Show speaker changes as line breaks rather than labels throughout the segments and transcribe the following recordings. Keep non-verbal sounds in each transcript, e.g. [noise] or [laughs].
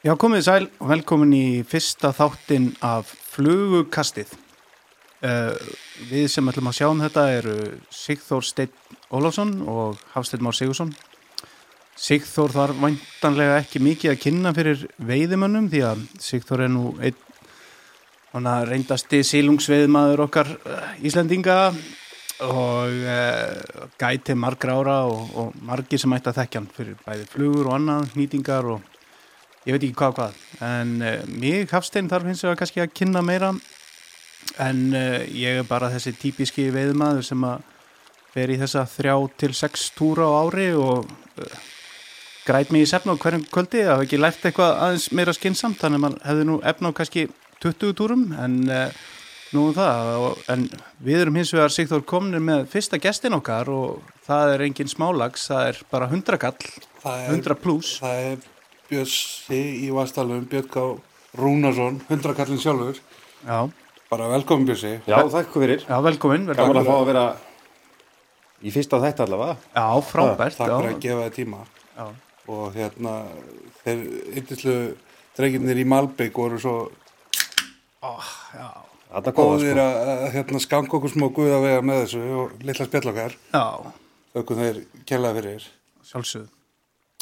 Já, komið sæl og velkomin í fyrsta þáttin af flugukastið. Uh, við sem ætlum að sjá um þetta eru Sigþór Steinn Ólafsson og Hafsteinn Már Sigursson. Sigþór þarf væntanlega ekki mikið að kynna fyrir veiðimönnum því að Sigþór er nú einn svona reyndasti sílungsveiðmaður okkar eh, Íslendinga og uh, gæti margra ára og, og margir sem ætti að þekkja hann fyrir bæði flugur og annað, nýtingar og ég veit ekki hvað og hvað en uh, mig Hafstein þarf hins vegar kannski að kynna meira en uh, ég er bara þessi típiski veiðmaður sem að fer í þessa þrjá til sex túra á ári og uh, græt mig í sefn á hverjum kvöldi hafa ekki lært eitthvað aðeins meira skinsamt þannig að maður hefði nú efna á kannski 20 túrum en uh, nú um það og, en við erum hins vegar Sigþór komnir með fyrsta gestin okkar og það er engin smálags, það er bara 100 kall,
Það er,
100 pluss
það er Björsi í Vastalum, Björgá um Rúnarsson, hundrakallin sjálfur.
Já,
Bara velkomin Björsi.
Já, þakku fyrir.
já velkomin, velkomin.
Gaman að fá að vera í fyrsta þætt allavega.
Já, frábært
Ah, Takk fyrir
já.
að gefa þið tíma.
Já.
Og hérna, þeir yndislu drenginir í Malbygg voru svo
Þetta góða
góðir
sko.
að að, hérna, skanga okkur smá guða vega með þessu og litla spjall okkar.
já,
Þaukum þeir kella fyrir.
sjálfsögð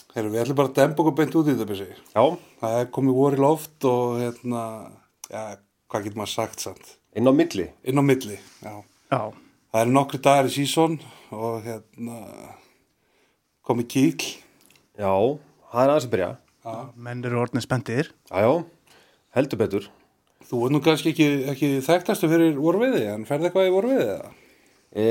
Þeir við ætlum bara að dempa okkur beint út í þetta Björsi.
Já,
Það er komið voru loft og hérna, ja, hvað getur maður sagt samt?
inn á milli.
Inn á milli, já.
Já,
Það eru nokkri dagar í sísón og hérna komið kýl.
Já, það er aðeins að byrja.
menn eru orðin spendir
Já, já, heldur betur.
Þú er nú kannski ekki, ekki þekktastu fyrir vorviði, en ferði eitthvað í vorviði eða?
E,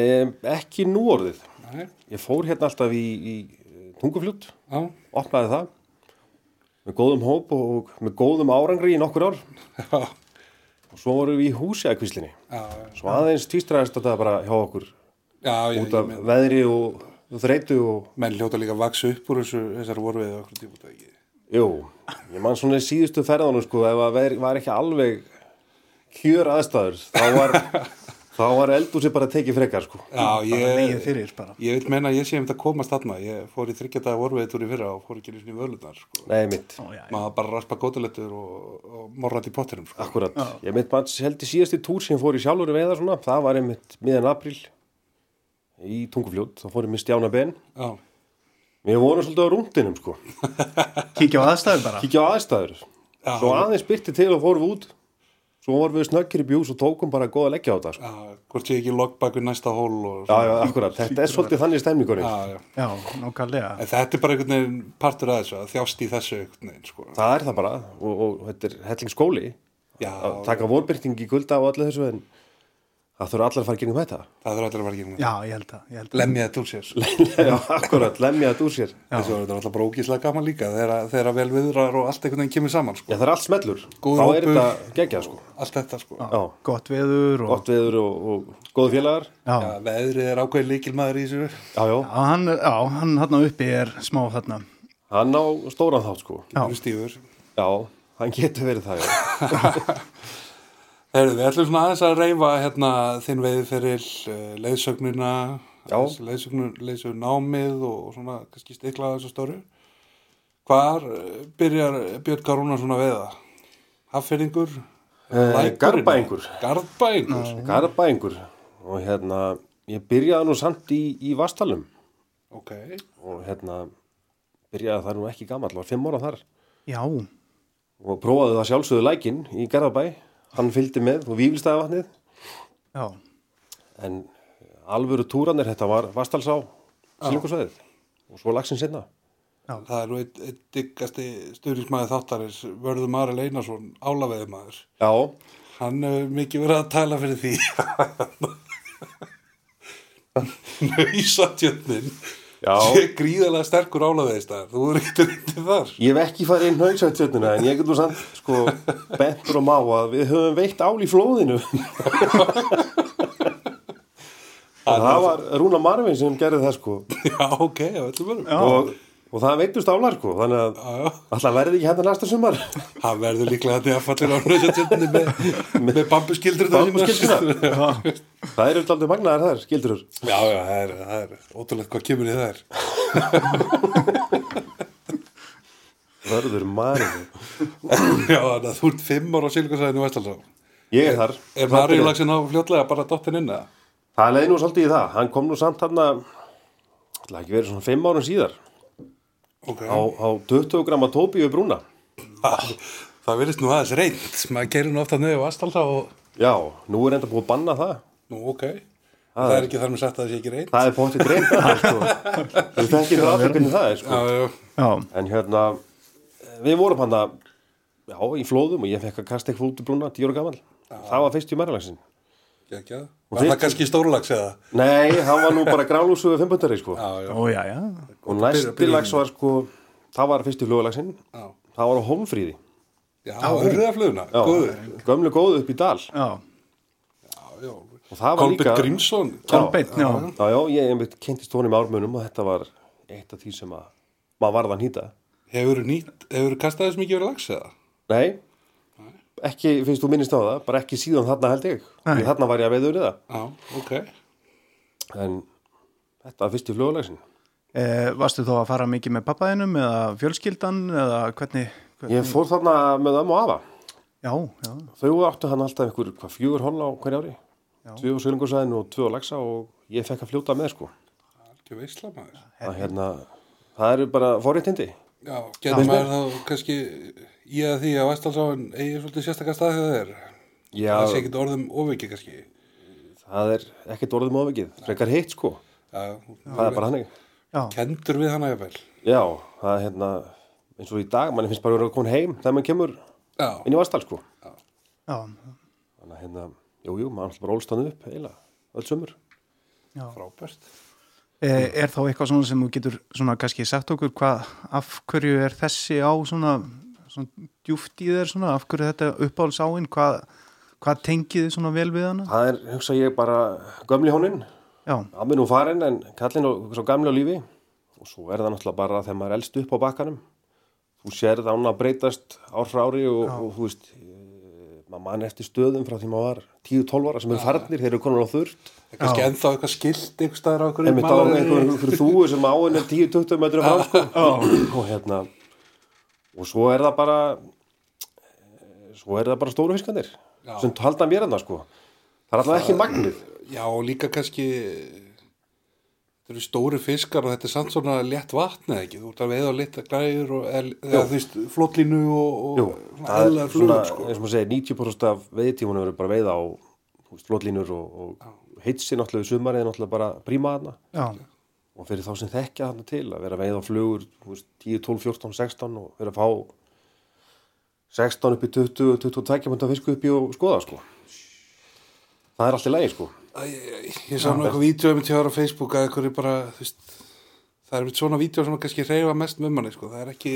ekki nú orðið.
Nei.
Ég fór hérna alltaf í, í tungufljút,
Já, [laughs]
opnaði það með góðum hóp og með góðum árangri í nokkur ár.
já,
Og svo vorum við í húsi að kvíslinni.
já,
Svo aðeins týstræðist þetta bara hjá okkur
já, já,
út
já
af veðri og þreytu og
menn hljóta líka að vaksa upp úr þessu, þessar vorviði okkur tíma út af ekki.
Jú, ég man svona í síðustu ferðanum sko, ef að ver, var ekki alveg kjör aðstæður, þá var,
[laughs]
þá var eldúsi bara tekið frekar sko.
Já,
Legið
ég,
fyrir bara
ég vil menna að ég sé um þetta komast þarna. Ég fór í þryggja dagar vorviði túr í fyrra og fór ekki nýtt í völunar, sko.
Nei, mitt,
Ó, já, já.
Maður bara raspa gótalettur og, og morrat í pottinum, sko.
akkurat. Ég mitt manns held í síðasti túr sem ég fór í sjálfur veiða svona, það var einmitt miðan apríl í tungufljót, þá fór ég með stjána ben.
Já,
Við vorum svolítið á rúndinum sko,
Kíkja á aðstæður bara
kíkja á aðstæður.
Já.
Svo aðeins byrti til og fórum út, svo vorum við snöggir í bjús og tókum bara góða leggja á þetta sko.
já, hvort ég ekki loggbakur næsta hól og
Já, já, akkurat, þetta er svolítið þannig stemningurinn.
Já, já.
Já, nákvæmlega
En þetta er bara einhvern veginn partur að þessu, að þjást í þessu einhvern veginn, sko.
Það er það bara og, og þetta er helling skóli
Já.
að taka vorbyrting í kulda og allir þessu en það þurfa allar að fara gengum
[laughs]
þetta
Það þurfa allir að vera ekki
Já, ég held að, ég held að.
Lemja þetta úr sér.
Já, akkurat, lemja þetta úr sér Já,
Þessu var þetta alltaf bara ógíslega gaman líka, þegar, þegar vel viðrar og allt einhvern veginn kemur saman, sko.
það er allt smellur
Góður
Þá er
hópur.
þetta geggjað sko
Allt þetta, sko.
Já,
Gott veður og
gott viður og, og góðu félagar
Já,
Já, veðrið er ákveðin líkilmaður í þessu.
Já, já,
Já, hann, já, hann hann uppi er smá þarna
hann á stóran þátt sko
Já.
Þú veist yfir.
Já, hann getur verið það já
Herðu, við ætlum svona aðeins að reyfa hérna þinn eh, veiðferil, leiðsögnuna,
Já.
leiðsögnun, leiðsögnun námið og, og svona kannski stikla þessu stóru. Hvar eh, byrjar Björn Karúna svona veiða? Haffyrringur?
Eh, Garðbæingur. Mm.
Garðbæingur?
Garabæingur og hérna, ég byrjaði nú samt í, í Vastalum
Ok.
og hérna byrjaði það nú ekki gamall, var fimm ára þar
Já,
og prófaði það sjálfsögðu lækin í Garðabæ, hann fylgdi með og výfylstæðavatnið,
já,
en alvöru túranir þetta var Vastalsá Silungursvæðið og svo lagsin sinna
Það er nú eitt, eitt diggasti stuðnismæði þáttaris, Vörður Mari Leynarsson, álaveðumæður.
Já,
Hann hefur mikið verið að tala fyrir [laughs] því. Nauðsatjötnin.
Já.
[laughs] Ég er gríðalega sterkur álaveðistar. Þú er ekkert reyndið þar.
ég hef ekki farið inn haugsættjötnina en ég get nú samt sko bentur og má að við höfum veitt ál í [laughs] flóðinu og það var Rúna Marvin sem gerði það sko
[laughs] Já, ok, já, þetta er verið.
og, og það veitust álar sko þannig að
Já, já.
alltaf verði ekki hérna næsta sumar
Hann verður líklega að því að fallir á nauðsatjötninni með, með bambuskildur.
Bambuskildrurnar. það eru alltaf magnaðar þar, skildur
Já, já, það er, [laughs] það er ótrúlegt hvað kemur í þær.
Vörður marinu.
Já, þannig að þú ert fimm ára á sílgusæðinu Vestalsá.
Ég er þar.
Er Maríulagsin á fljótlega bara dottin inn eða?
Það leiði nú svolítið í það. Hann kom nú samt hann að, ætla ekki verið svona fimm árum síðar,
Ok.
á, á 20 gramma tópi við brúna.
Það, það virðist nú aðeins reynd. Maður keirir nú ofta niður Vestalsá og...
Já, nú er enda búið að banna það.
Nú, ok. Það er ekki þar með sagt að það sé ekki reynd.
Það er potið
[laughs]
greint að það, sko. Þú þekkir það allir hvernig það er, sko.
Já, já.
Já,
En hérna, við vorum hann að, já, í flóðum og ég fekk að kasta eitthvað út í brúna, 10 ára gamal. Það var fyrst í Maríulagsin.
Gekja. Var það
fyrst-
kannski stórlags eða?
Nei, hann var nú bara grálúsu við fimmöndari, sko.
Já, já.
ó já, já.
Og
byrjun.
næsti lags var, sko, það var fyrst í flóðlagsinn.
Já,
Það var á Holmfríði.
já urriðafluguna,
Já,
góður.
Gömlu góðu upp í dal.
já.
Já,
Og það var
Kolbjörn
líka...
Grímsson.
Kolbeinn, já.
Já, já, ég einmitt kynntist honum í ármunum og þetta var eitt af því sem að maður varð að nýta.
Hefur þú kastað þess mikið verið lags eða?
Nei, ekki, finnst þú minnist á það, bara ekki síðan þarna held ég.
Nei.
Því Þarna var ég að veða unni það.
Já, ok.
En þetta var fyrst í flugulagsin.
E, varstu þá að fara mikið með pappaðinum eða fjölskyldan eða hvernig? hvernig?
Ég fór þarna með ömmu og afa.
Já, já,
Þau áttu hann alltaf einhver, hvað, fjögur holla á hverja ári?
Já.
Tvö á Sölungarsæðinu og tvö á Laxa og ég fekk að fljóta með, sko.
Algjör veisla maður.
Það, hérna, það eru bara forréttindi.
Já, getur maður þá kannski í að því að Vestalsáin eigi svolítið sérstakar stað þegar það er.
Já,
Það sé ekkit orðum ofvikið kannski.
það er ekkert orðum ofvikið. Frekar heitt, sko.
Já,
Það er bara hannig.
já,
Kendur við hana jafnvel.
Já, það er hérna, eins og í dag, mann finnst bara að vera komin heim þegar maður kemur
Já,
inn í Vastal, sko.
já,
Þannig að hérna, jú, jú, maður alltaf bara ólst hann upp, eiginlega, öll sömur.
já.
frábært.
E, er þá eitthvað svona sem þú getur svona kannski sagt okkur hvað, af hverju er þessi á svona, svona djúft í þér svona, af hverju þetta uppáhalsáin, hvað, hvað tengið þið svona vel við hana?
Það er, hugsa ég, bara gömli honinn,
Já,
amin og farinn, en kallinn og svo gamli á lífi. Og svo er það náttúrulega bara þegar maður er elst upp á bakkanum. Þú sér það án að breytast ár frá ári og, og þú veist, eh, maður mann eftir stöðum frá því maður var 10-12 ára sem eru farnir, þeir eru konar á þurrt.
Það er kannski ennþá eitthvað skilt einhver staðar á okkur.
einmitt á einhverjum fyrir þúu sem áin er 10-20 metrum frá sko. og hérna og svo er það bara eh, svo er það bara stóru fiskandir
Já.
sem halda mér hann sko það er alltaf ekki magnið
Já, og líka kannski þetta eru stóri fiskar og þetta er samt svona létt vatn eða ekki, þú ert að veiða á létta græður og el- eða þú veist, flottlínu og, og
Jú,
svona
það
eðla
er svona,
flugum sko.
eins og maður segir 90% af veiðtímunum verður bara veiða á þú veist, flotlínur og, og heitsi náttúrulega sumarið er náttúrulega bara príma hana
já,
og fyrir þá sem þekkja þarna til að vera að veiða á flugur þú veist, 10, 12, 14, 16 og vera að fá 16 upp í 20, 22 mynda fisku upp í og skoða sko það er allt í lagi sko
Æ, ég, ég sá nú eitthvað vídeo einmitt hjá þér á Facebook að einhverju bara, þú veist það er einmitt svona vídeo sem kannski reyfa mest með manni sko, það er ekki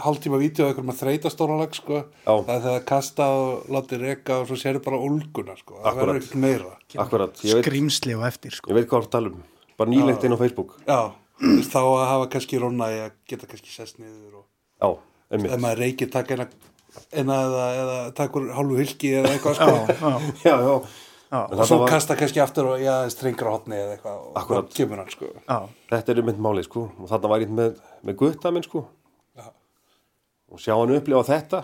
hálftíma vídeo að einhverjum að þreita stóra lag sko
Já.
það er það að kasta og láti reka og svo sérðu bara ólguna sko, það
Akkúrat.
verður ekkert meira
akkurat, ég veit,
skrýmsli og eftir sko.
ég veit hvað það tala um bara nýlegt inn á Facebook
Já, þú veist, þá að hafa kannski róna í að geta kannski sest niður og
já,
ef
einmitt
maður reykir takk eina, eina eða, eða takk úr hálfu hylki eða eitthvað sko
Já, já,
[laughs] já, já,
Já,
En
og
þarna
svo
var-
kasta kannski aftur og já, strengra hotni eða eitthvað og
Akkúrat.
þá kemur hann sko
já,
þetta er mynd málið sko og þarna var ég með, með gutta minn sko
já,
og sjá hann upplifa þetta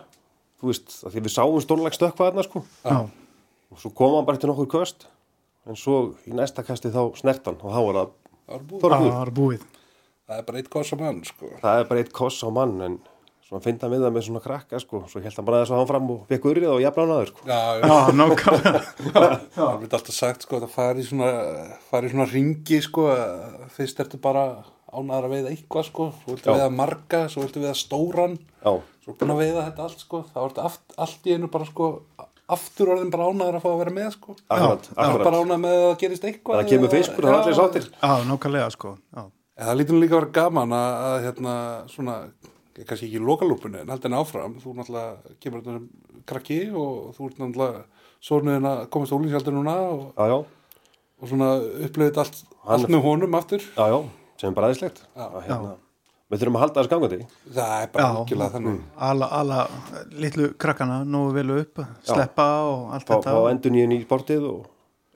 þú veist, að því við sáum stónleik stökkvað þarna sko
já,
og svo kom hann bara til nokkur köst en svo í næsta kasti þá snertan og þá var það
það er búið
já,
Þorflug.
það er búið.
það er bara eitt kosa mann sko
það er bara eitt koss á mann en svona fynda með það með svona krakka sko svo held hann bara þess að hann fram og fekk urrið og jafna hann aður sko
já, já,
Já, nákvæmlega.
það er mitt alltaf sagt sko það fari svona, fari svona ringi sko að fyrst ertu bara ánæður að veiða eitthvað sko svo ertu
Já.
veiða marga, svo ertu veiða stóran
já,
svo ertu búin að veiða þetta allt sko þá ertu aft, allt í einu bara sko aftur orðin bara ánæður að fá að vera með sko
akkurat,
Það er bara
akkurat
ánað með að það gerist eitthvað.
það kemur fiskur, það er allir sáttir
Já, nákvæmlega sko. Já,
En það lítur nú líka að vera gaman að, að hérna, svona, kannski ekki í lokalúpunni, en haldin áfram, þú náttúrulega kemur þetta sem krakki og þú ert náttúrulega sonuðin að komast ólíksjaldur núna og,
já, já,
og svona upplöðið allt,
Hann-
allt með honum aftur.
já, já, sem er bara aðeinslegt hérna, við þurfum að halda þess gangandi
Það er bara
Já.
algjörlega þannig.
ala, ala, litlu krakkana nógu vel upp, sleppa og allt
fá,
þetta.
fá endur nýjum í sportið og,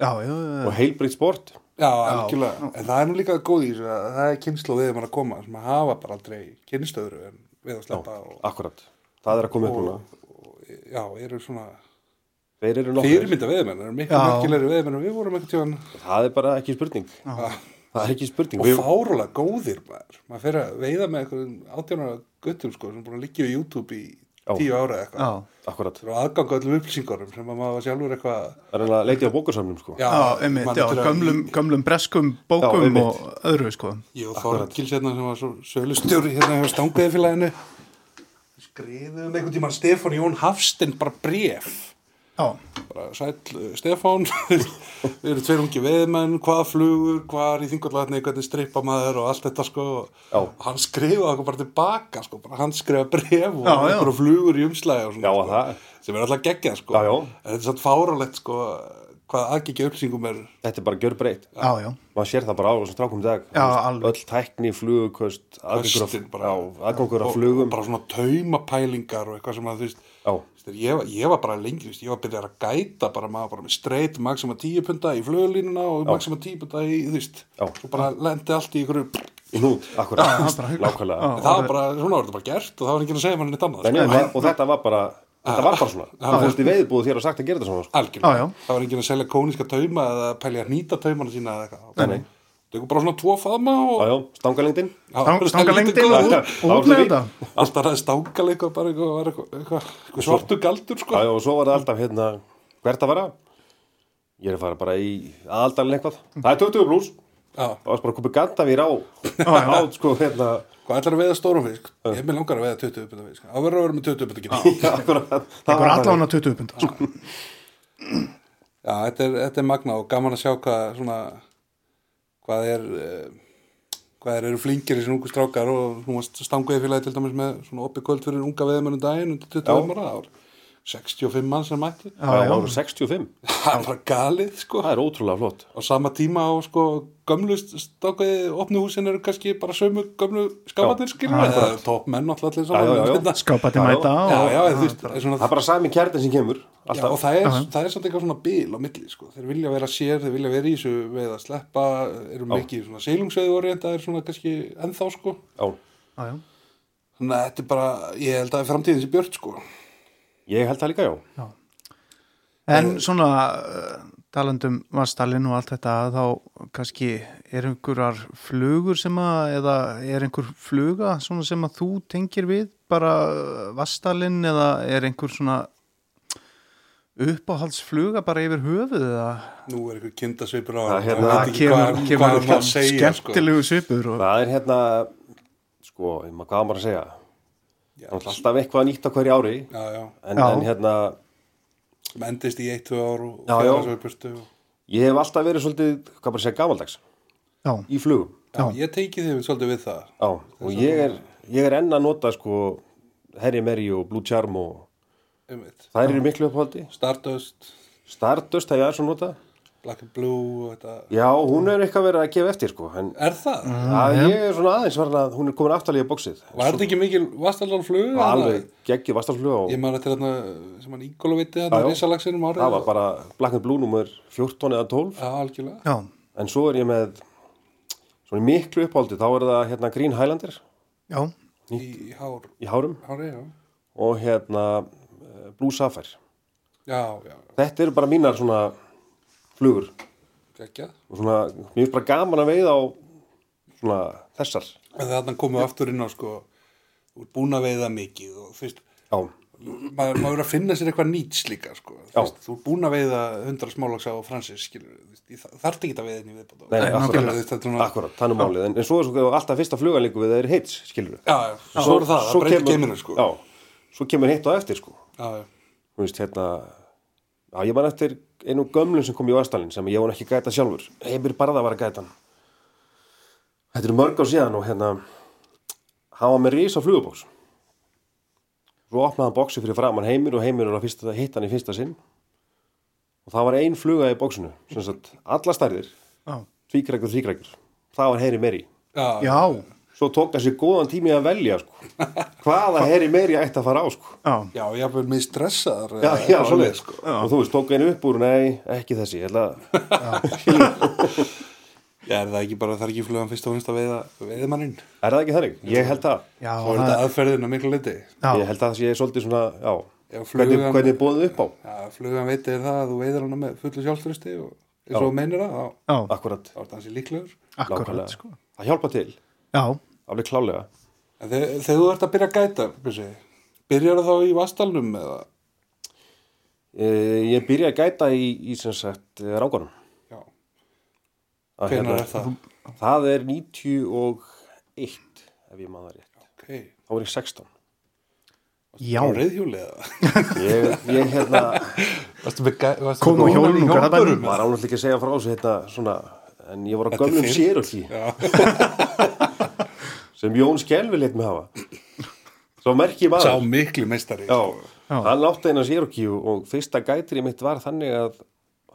Já, já, já,
og heilbritt sport
Já, algjörlega. En það er nú líka góð í þessu að það er kynnslóðið þegar maður að koma sem að hafa bara aldrei kynnstöður en við að sleppa og,
akkurat, það er að koma upp núna
og, og já, eru svona
þeir eru nokkur,
fyrirmynda veðmenn, eru miklu
Já.
merkilegri veðmenn en við vorum einhvern tíðan
það er bara ekki spurning það er ekki spurning
og
Við-
fárulega góðir maður maður fer að veiða með einhverjum átjónara guttum sko, sem búin að liggja á YouTube í
Já.
tíu ára eða eitthvað
já,
akkurat,
og aðganga öllum upplýsingarum sem að maður var sjálfur eitthvað
það er að leita á bókarsamnum sko.
já, einmitt,
maður
já,
lítur að-
gömlum, gömlum breskum bókum
Já, einmitt.
og öðru, sko.
Ég og Þorgils hérna sem var svo sölustjóri hérna hjá stangaðifélaginu skriðum einhvern tímann Stefán Jón Hafstinn bara bref
Já,
bara sæll eh, Stefán [laughs] við erum tveir ungi veðmenn hvað flugur, hvað er í þingurlæðinni hvernig strippa maður og allt þetta sko
Já.
og hann skrifaði okkur bara tilbaka sko, bara hann skrifaði bref og
Já, já.
einhverja flugur í umslæði og
Já,
svona,
það-
sko, sem er alltaf geggjað sko
Já, já.
en þetta er samt fáralegt sko hvað aðgengja upplýsingum er
þetta er bara gjör breytt
já, já.
maður sér það bara á þessum strákum í dag
Já,
Þú veist,
alveg.
öll tækni, fluguköst aðgangur að-
Köstin bara.
já, aðgangur að
og
flugum
bara svona taumapælingar og eitthvað sem að þú veist
Já.
þú veist, ég, var- ég var bara lengi, þú veist, ég var byrjað að gæta bara maður bara með streit maxima 10 punta í fluglínuna og maxima 10 punta í, þú veist
Já.
og bara lendi allt í ykkur
í nút, akkurat,
Já, það er bara-
nákvæmlega
Já.
það var bara, svona var þetta bara gert og það var enginn að segja mann neitt annað
Nei,
sko.
nei, og þetta var bara þetta var bara svona, þú fórst í veiðbúð þér og sagt að gera þetta svona sko.
Já, já.
algjörlega, það var enginn að selja kóniska tauma eða pælja nýta taumana sína eða eitthvað
Nei, nei.
það er bara svona tvo faðma
já,
og
já, stangalengdin
Stang, stanga lengdin og
Lítið góð.
út- og út með þetta.
alltaf ræði stangal eitthvað bara eitthvað, var eitthvað, eitthvað, eitthvað svartu galdur sko.
já, já, og svo var það alltaf hérna hvert að vera ég er að fara bara í aðaldan eitthvað það er 20 pluss,
Já.
það var bara komið gandavýr á á, sko, hérna [laughs]
Hvað ætlar að veiða stórum fisk? Ég með langar að veiða 20 uppið fisk. Það verður að vera með 20 uppið ekki.
já, akkurat, það
Ekkur
var bara-
allan á 20 punda, sko.
Já, þetta er, þetta er magna og gaman að sjá hvað svona, hvað er, eh, hvað er, eru flingir í þessum ungu strákar og nú varst stanguðið félagi til dæmis með svona oppi kvöld fyrir unga veiðmennum daginn undir 20 ára, það var 65 mann sem mætti.
Já,
það
já.
voru 65,
[laughs] Það er bara galið, sko.
það er ótrúlega flott
Á sama tíma á, sko, gömlu stanguðið, opnu húsin eru kannski bara sömu gömlu skápatir, skiljum við. Það er topp menn alltaf allir saman.
Já, já, já.
Hérna.
Skápati
Já, já.
mæta
Já,
og...
já, þú veist, svona
það er bara sami kjartin sem kemur
Já, og
alltaf,
það er, það er samt eitthvað svona bil á milli, sko. Þeir vilja vera sér, þeir vilja vera í þessu veið að sleppa, eru mikið svona seilungsveið orientaðir svona kannski ennþá, sko.
já,
Já, já.
Þannig að þetta er bara, ég held að það er framtíðin sem björt, sko.
ég held það líka, já
Já. En svona eh, talandum vastalinn og allt þetta þá kannski er einhverjar flugur sem að eða er einhver fluga svona sem að þú tengir við bara vastalinn eða er einhver svona uppáhaldsfluga bara yfir höfuð eða
Nú er eitthvað kindasveipur á
Það,
hann,
hérna,
það
það
veit ekki
kemur,
hvað,
kemur
hvað maður að segja, sko.
skemmtilegu svipur og,
Það er hérna, sko, ég maður- hvað á maður að segja?
Já.
Það er náttúrulega alltaf eitthvað nýtt á hverju ári,
Já, já,
en,
Já.
en hérna,
sem endist í eitt, tvö ár og
Já, já.
fjarlagsveipurstu. Og...
ég hef alltaf verið svolítið, hvað bara að segja, gamaldags,
já,
í flugum.
Já, ég teiki þið svolítið við það.
Já, og ég er, ég er enn að nota, sko, Harry Mary og Blue Charm og
Einmitt.
þær eru miklu upphaldi.
Stardust,
Stardust hef ég aðeins að nota.
Black and Blue og þetta.
Já, hún er eitthvað verið að gefa eftir, sko, en
Er það?
að ég er svona aðeins varna að hún er komin aftalega í bóksið.
Var þetta ekki mikil vastalál flug?
Alveg geggið vastarfluga og
Ég maður eftir þarna sem hann Ígóla viti þarna
Já, já.
risalagsinum árið.
það var bara Black and Blue nummer 14 eða 12.
Já, algjörlega.
já,
En svo er ég með svona miklu uppáldi, þá er það hérna Green Highlander
já,
Í, í hár,
í hárum
hári, já.
og hérna eh, Blue Sapphire.
Já, já,
Þetta eru bara mínar svona flugur
geggjað.
og svona, mér finnst bara gaman að veiða á svona þessar.
En þarna komum við aftur inn á sko, þú ert búin að veiða mikið og þú veist,
Já,
maður, maður er að finna sér eitthvað nýts líka sko. Þú
Já.
veist, þú ert búin að veiða 100 smálagsa og fransis, skilur, þú veist, ég þa- þarf ekki að veiða henni viðbútt á.
Nei, nei, akkurat.
Skilur, þú veist, þetta er svona,
akkurat, þannig málið. En, en svo er svo alltaf fyrsta flugan líka við það er heits, skilur við.
já, já, svo er það, það breytir geiminu sko.
Já, svo kemur heitt á eftir, sko.
Já, já,
Þú veist, hérna, já, ég man eftir einu gömlun sem kom í Vastalinn sem ég var nú ekki að gæta sjálfur. Heimir Barða var að gæta hann. Þetta eru mörg á síðan og hérna hann var með risa flugubóks svo opnaði hann bóksi fyrir framann heimir og heimir er að fyrsta, hitta hann í fyrsta sinn og það var ein fluga í bóksinu sem sagt alla stærðir
já,
tvíkrækur, þríkrækur það var Heyri Meri
já,
já,
svo tók hann sér góðan tími að velja sko. hvaða Heyri Meri ætti að fara á sko.
já,
já, ég er með stressaðar. eh,
já,
eða
já, sko.
eitthvað
svo
svoleiðis,
og þú veist, tók einu upp úr nei, ekki þessi ég ætla að
Já, er það ekki bara þar ekki flugan fyrst og finnst að veiða veiðmanninn?
Er það ekki þannig? Ég held það.
Já,
Svo er þetta aðferðin að miklu leiti.
já,
Ég held að það sé svolítið svona, já,
Já,
hvernig,
flugan-
hvernig bóðið upp á.
Já, flugan veitir það að þú veiðir hana með fullu sjálfstrusti og eins og þú meinir það, þá
já,
Akkurat,
þá er það hansi líklegur.
akkurat
nákvæmlega.
sko.
Það hjálpa til,
Já,
alveg klálega.
En Þegar, þegar þú ert að byrja að gæta, byrsi, byrjar þá í vastalnum eða?
Eh, Ég byrja að gæta í, í sem sagt, eh, rángunum.
Já,
Að
hvenær
hérna-
er það?
Það er 91, ef ég maður rétt.
Ok,
Þá er ég 16.
já,
á reyðhjúli eða?
Ég, ég hérna,
Varstu með gæta?
Kom á hjólinu í Garðabænum?
var ánægt ekki að segja frá þessu hérna svona, en ég var á
er
gömlum
fyrr.
sérulli
Já,
[laughs] sem Jón Skelvi leitt mig hafa. Svo merki ég
sá
maður.
miklu meistari.
Já,
Já.
hann átti hennar Cherokee og, og fyrsta gætri mitt var þannig að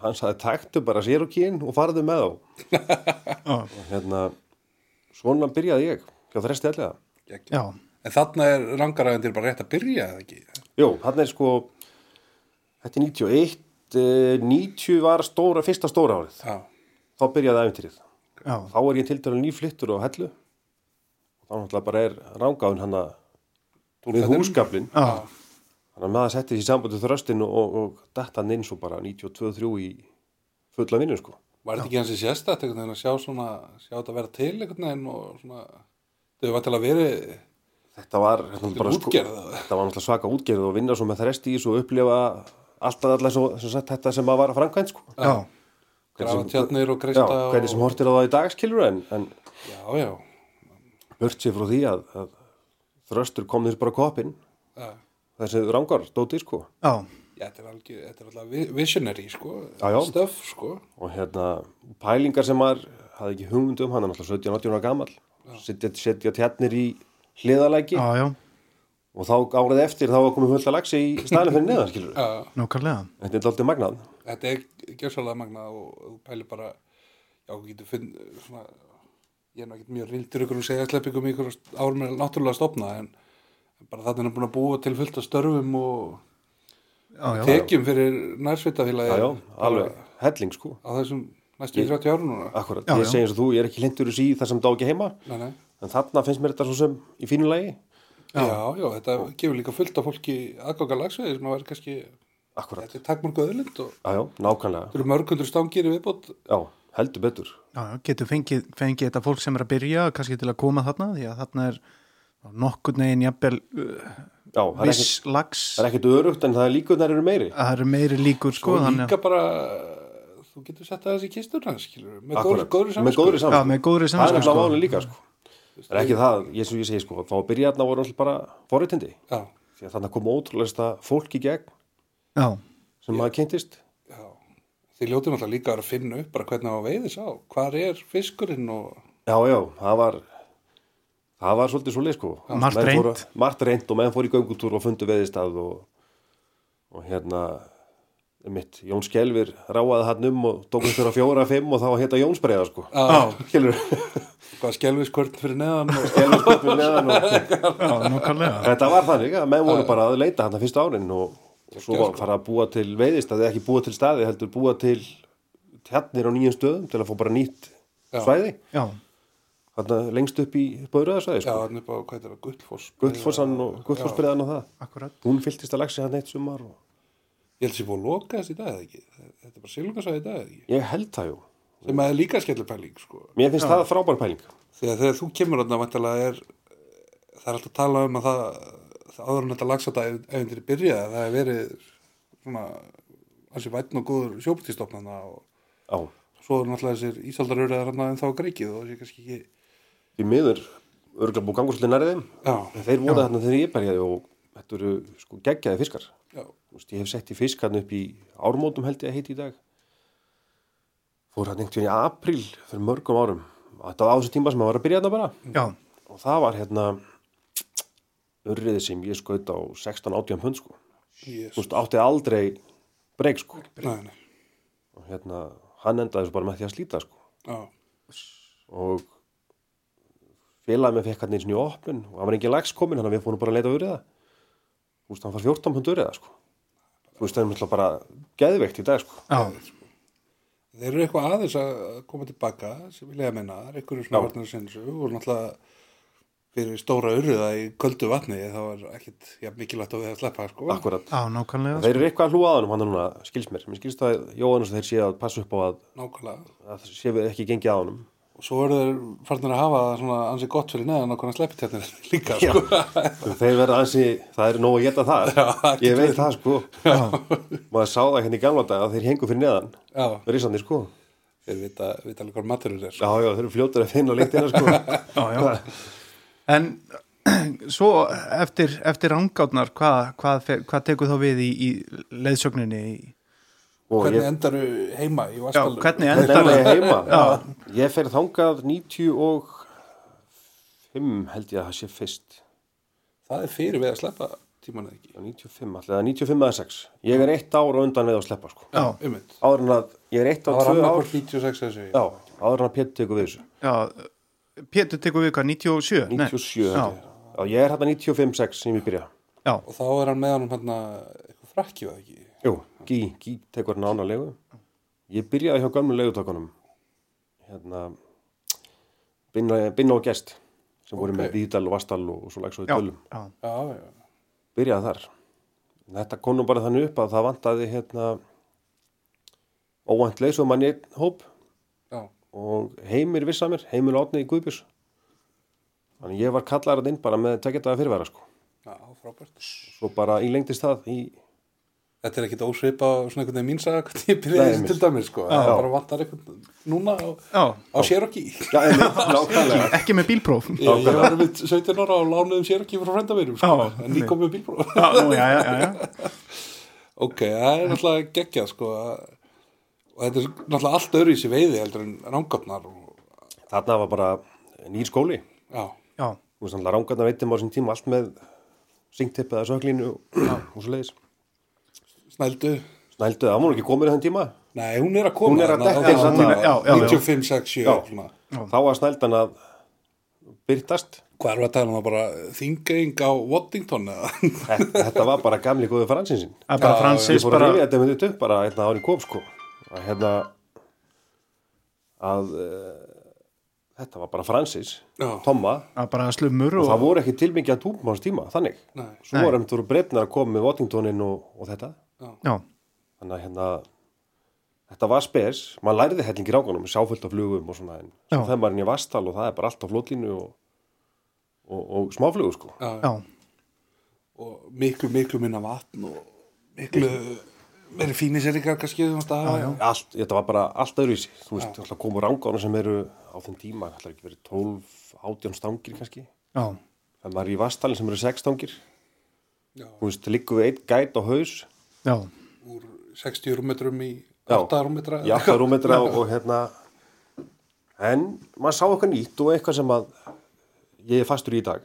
hann saði taktu bara Cherokee-in og farðu með þá.
já,
Og hérna, svona byrjaði ég, hjá þresti allega.
Geggjað.
já,
En þarna er rangaræðandir bara rétt að byrja eða ekki?
Jú, hann er sko, þetta er 91, eh, 90 var stóra, fyrsta stóra árið.
Já,
Þá byrjaði æfintýrið.
já,
Þá er ég til dælu nýflittur á hellu. Þá náttúrulega bara er rángáðun hann við
Túlkatinn?
húsgaflin.
já,
Þannig að maður setti þessi sambandi þröstin og, og, og datt hann inn svo bara 92-3 í fulla vinnu sko.
Var þetta ekki hansi sérstætt einhvern veginn að sjá svona, sjá þetta vera til einhvern veginn og svona, þau var til að veri,
Þetta var, þetta
er
var, sko,
útgerð, eða?
þetta var náttúrulega svaka útgerð og vinna svo með þresti í svo og upplifa alltaf allar svo, sem sagt, þetta sem maður var að framkvæmt sko.
já,
grafa
sem-
tjarnir og
Já,
kreista og...
hvernig sem hortir á það í dagskilur en, en
Já, já,
burt sér frá því að, að þröstur kom þér bara kopinn
já.
þessi rángar dóti sko
já,
Já, þetta er algjör, þetta er alltaf vi- visionary, sko,
Já, já.
stöf, sko.
og hérna pælingar sem maður hafði ekki hugmynd um hann er náttúrulega 17, 18 ára gamall setja, setja tjarnir í hliðalæki
já, já,
og þá árið eftir þá var komið hulta lagsi í staðinu fyrir neðan skilur
Já,
nákvæmlega,
þetta er alltaf magnað
þetta er gjössalega magna og þú pælir bara, já, þú getur finn, svona, ég er nú ekkert mjög rildur ykkur um segja sleppingum í ykkur árum er náttúrulega að stopna, en en bara þarna er búin að búa til fullt af störfum og
já, já,
tekjum fyrir nærsvitafélagi
já, já, alveg helling sko
á þessum næstu 30 árum núna
akkurat,
Já,
ég
já.
segi eins og þú, ég er ekki lindur í það sem dá ekki heima
nei, nei.
en þarna finnst mér þetta svo sem í fínu lagi
Já. já, þetta gefur líka fullt af fólki aðganga lagsveði sem að vera kannski
akkurat,
þetta er takmörgu öðlind og
já, já, nákvæmlega
þú eru mörgundur stangir í viðbót
já, heldur betur
já, já, getur fengið, fengið þetta fólk sem er að byrja, kannski til að koma þarna, því að þarna er nokkurn veginn jafnvel uh,
já, það er ekkert-
viss lags,
það er ekkert örugt en það er líkunar eru meiri
það eru meiri líkur sko,
og
þannig að-
líka bara þú getur sett það þessi kisturna skilur með góðri, góðri
Akkúrat. með
samsku
góðri
já,
samsku
með góðri
það er
samsku
nefnilega
sko,
málið líka sko. það er ekki það, eins og ég segi sko, þá að byrja þarna voru alltaf bara forréttindi
já,
því að þannig kom ótrúlega þetta fólk í gegn
já,
sem maður kynntist
já. þið ljótum alltaf líka að vera að finna upp bara hvernig á veiði sá hvar er fiskurinn og
já, já, það var það var svolítið svolítið sko
Margt
Menn
reynt.
fóru, margt reynd og menn fór í göngutúr og fundu veðistað og, og hérna mitt, Jón Skelvir ráaði hann um og tókum þurra fjóra, fimm og þá hérna Jóns breyða sko
Já.
skilur, [laughs]
hvað skelviskvörn fyrir neðan og
Skelvir spurt við neðan og
já, nákvæmlega
Þetta var þannig að menn voru bara að leita hann fyrsta árin og, og
Sko,
svo var fara að búa til veiðist að þið ekki búa til staði heldur búa til tjarnir á nýjum stöðum til að fá bara nýtt
Já.
svæði
já,
þarna lengst upp í
já,
Böðröðarsvæði sko.
hann er bara, hvað er það, gullfoss
Gullfossan og Gullfossbreiðan og það
akkurat
hún fylltist að lagsi hann eitt sumar og...
ég held sér búið að loka þessi í dag eða ekki þetta er bara silungarsæði í dag eða ekki
ég held það jú
sem að er líka skellupæling sko.
mér finnst það frábær pæling
þegar, þegar þú kemur þarna vantilega er það er alltaf að tala um að það, það áður en þetta lagsata ef þeir byrja það hefur verið svona hansi vætn og góður sjópartistofnana og
á
svo er náttúrulega þessir ísaldaröruðar hann en þá greikið og þessi kannski ekki
því miður örgla búið gangur svolítið nærðið
já,
þeir voru þarna þegar ég berjaði og þetta eru sko geggjaði fiskar
já,
Þú veist, ég hef sett í fiskarn upp í ármótum held ég að heiti í dag fór hann einhvern veginn í apríl fyrir mörgum árum þetta var á þessu tíma sem maður var að byrja hérna bara
já,
og það var hérna urriði sem ég skaut á 16-18 pund sko Þú
yes.
veist, átti aldrei breyk sko
nei, nei,
og hérna hann endaði svo bara með því að slíta sko
já,
og félagið með fekk hann eins og í opnun og hann var engin lags komin hann að við fórum bara að leita urriða þú veist, hann far 14 pund urriða sko þú veist, það er mjög bara geðveikt í dag sko
já,
Þetta þeir eru eitthvað aðeins að koma tilbaka sem vilja að menna, það er eitthvað svona
Já.
varnar sinns og náttúrulega fyrir stóra urða í köldu vatni þá er ekkit ja, mikilvægt að við að sleppa sko.
akkurat.
á nákvæmlega
Þeir eru eitthvað að hlúa að honum hann núna, skils mér. Mér skils það, Jóhannes, þeir séu að passa upp á að,
nákvæmlega
að það séu ekki gengið að honum.
og svo eru þeir farnir að hafa það svona ansi gott fyrir neðan okkur að sleppi tjarnir [laughs] líka sko.
Þeir verða ansi, það er nóg að geta það.
Já,
Ég veit það, sko. Maður sá það hérna í gamla dag að þeir hengu fyrir neðan.
já,
Rísandi, sko.
þeir vita, vita alveg hvað maturur er sko.
Já, já, þeir eru fljótur að finna leiktina, sko.
Já, já. en [clears throat] svo eftir, eftir rangátnar hvað, hvað, fe- hvað tekur þá við í, í leiðsögninni í,
Og
hvernig
ég-
endaru heima í
já,
Vastalum
hvernig
En
endar
það er
það
heima Ég fer þangað 95 held ég að það sé fyrst
það er fyrir við að sleppa tíman eða ekki
Já, 95 alltaf, eða 95 eða 6 Ég er eitt ár á undan eða að sleppa sko.
já,
Einmitt.
Áður en að, ég er eitt á
það var
tvö ár
annarkvort 96 þessu
Já, áður en að Pétur tekur við þessu
já, Pétur tekur við hvað, 97? Nei.
97
já,
held ég. Já, ég er hérna 95-6 sem ég byrja
já,
og þá er hann með honum hann eitthvað frakki var það ekki
Jú, Gí, Gí tekur hérna ána legu Ég byrjaði hjá gömlu legutökunum Hérna Binna, binna og gest sem voru með Víðdal og Vastal og, og svo legs og í
já,
tölum
já,
já, já,
byrjaði þar þetta kom nú bara þannig upp að það vantaði hérna óvænt leysum mann í einn hóp
já,
og heimir vissi að mér, heimir átni í Guðbjörns þannig ég var kallar að inn bara með tekjataða fyrirvara sko
já, frábært
svo bara í lengdist það í,
þetta er ekkit ósvipa á svona einhvern veginn mín saga hvernig ég byrjaði
Nei,
þessu
einmitt.
til dæmis sko það bara vantar einhvern núna á,
já.
á Cherokee
já, einmitt, nákvæmlega
ekki með bílpróf
ég, ég var með 17 ára og lánuðum Cherokee frá frenda mínum sko,
Já,
en ég kom með bílbróð
[laughs] já, nú, já, já, já, já.
ok, það er náttúrulega geggjað sko að- og þetta er náttúrulega allt öðru í sér veiði heldur en rángöfnar og,
þarna var bara nýr skóli
já,
já,
þú veist alltaf rángarna veitum á þessum tíma allt með syngtipp eða söklínu og svo leiðis
snældu
snældu, það var nú ekki komin í þann tíma
nei, hún er að koma
Hún er að
þarna,
dekka
þarna,
þarna, já, já, já.
95, 6, 7
Já.
svona.
þá var snældan að byrtast
hvað er að tala um það bara þingeying á Waddington eða [laughs]
þetta, þetta var bara gamli góðu fransinsinn
það er bara
Já,
ég
Francis
fór að
bara,
rifja þetta með þetta upp bara hérna árið kom sko að hérna að uh, þetta var bara Francis
Já.
Tomma
að bara slumur
og
og,
það voru ekki tilmikið að túpum hans tíma þannig
Sko- Nei.
svo voru emtur breyfnar að koma með Waddingtonin og, og þetta
já,
þannig að hérna þetta var spes, maður læriði hellingi rákunum sjáfullt af flugum og svona en svo
Já.
þegar maður er inn í Vastal og það er bara allt á flótlínu og, og, og smáflugur sko
Já,
já,
og miklu, miklu minna vatn og miklu meiri fíniseringar kannski um þetta já, já.
allt, þetta var bara allt öðruvísi þú veist, þú ætla að koma rángána sem eru á þeim tíma, ætla ekki verið 12, 18 stangir kannski,
já,
það maður er í vastalinn sem eru 6 stangir
Já.
þú veist, liggum við einn gæt á haus
já,
úr 60 rúmetrum í
Já.
8 rúmetra
í 8 rúmetra og, og hérna en maður sá eitthvað nýtt og eitthvað sem að ég er fastur í í dag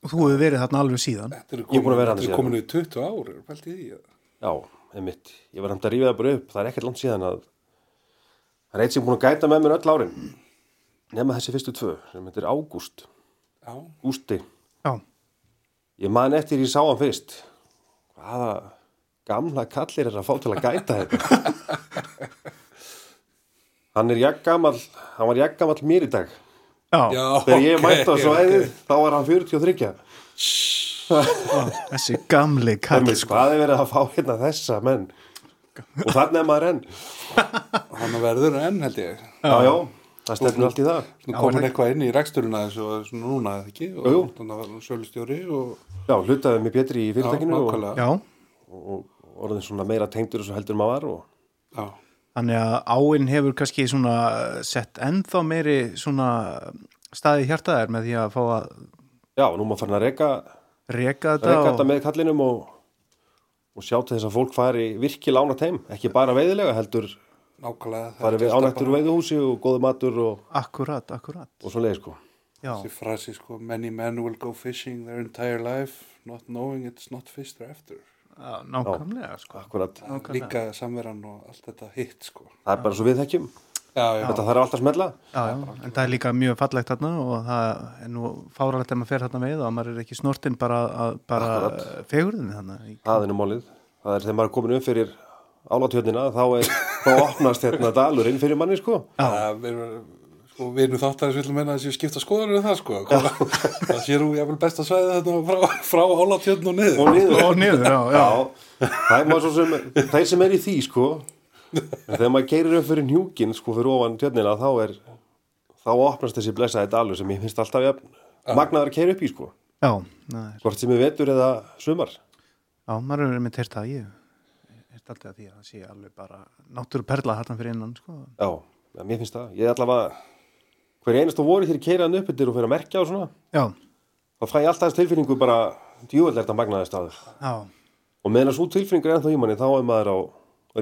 þú hefur verið þarna alveg síðan
[laughs] þetta er
Ég er búin að vera
þetta
þarna
er
síðan.
komin í 20 ár er pælt í því eða?
já, einmitt, ég var hæmt að rífa það bara upp það er ekkert langt síðan að það er eitt sem er búin að gæta með mér öll árin nema þessi fyrstu tvö, sem heitir Ágúst
já,
Gústi
já,
Ég man eftir ég sá hann fyrst. Hvaða gamla kallir er að fá til að gæta þetta? hann er jaggamall, hann var jaggamall mér í dag.
já,
já
Þegar ég
ok,
mætti á
ok.
svæðið, þá var hann 43.
þessi gamli kall
Kall, hvað er verið að fá hérna þessa menn? Og þannig er maður enn.
hann verður enn held ég
Já, já, það stefnir allt í það.
nú komin eitthvað inn í reksturina þessu og svona núna eða ekki og
Jú, jú.
þannig að verður sölustjóri og
Já, hlutaði mig Pétri í fyrirtækinu og,
nákvæmlega
já,
og, og orðin svona meira tengdur þessu heldur en maður var og
já,
þannig að áinn hefur kannski svona eh, sett ennþá meiri svona eh, staði hjartaðar með því að fá að
já, nú maður farin að reyka
reka þetta
reyka þetta
og,
með kallinum og, og sjá til þess að fólk fari virkilega ánægt heim, ekki bara veiðilega heldur
nákvæmlega
fari við ánægtur úr veiðuhúsi og góðu matur og,
akkurat, akkurat
og svo leiði sko
já,
þessi frasi sko many men will go fishing their entire life not knowing it's not fish they're after
já nákvæmlega sko.
akkurat,
líka samveran og allt þetta hitt sko
það er bara svo við þekkjum
já, já,
þetta þarf alltaf að smella
já, já, en það er líka mjög fallegt þarna og það er nú fáralegt ef maður fer þarna með og maður er ekki eh, snortinn bara, að- bara fegurðinni þarna í-
það er nú málið, það er þegar maður er komin um fyrir álatjörnina þá er, þá opnast hérna dalurinn fyrir manni sko
Það er sko, við erum þáttar sem viljum meina að séu skipta skoður en það sko það séu jafnvel besta svæði þetta frá, frá álatjörn og niður
og niður
og niður, já, já.
Já, það er maður svo sem, þeir sem er í því sko en þegar maður keirir upp fyrir njúkin sko fyrir ofan tjörnina þá er þá opnast þessi blessaði dalur sem ég finnst alltaf jafn, magnaðar að keira upp í sko
Já, það er,
hvort sem er vetur eða sumar
já, maður hefur einmitt heyrt það, ég heyrt alltaf að því að það sé alveg bara náttúruperla þarna fyrir innan, sko.
já, ja, mér finnst það, ég er allavega hver einasta voru þegar ég keira hann upp yfir og fer að merkja og svona,
Já,
þá fæ ég alltaf þess tilfinningu bara, djúvel er þetta magnaði staður
já,
og meðan að svo tilfinningu er ennþá í manni þá er maður á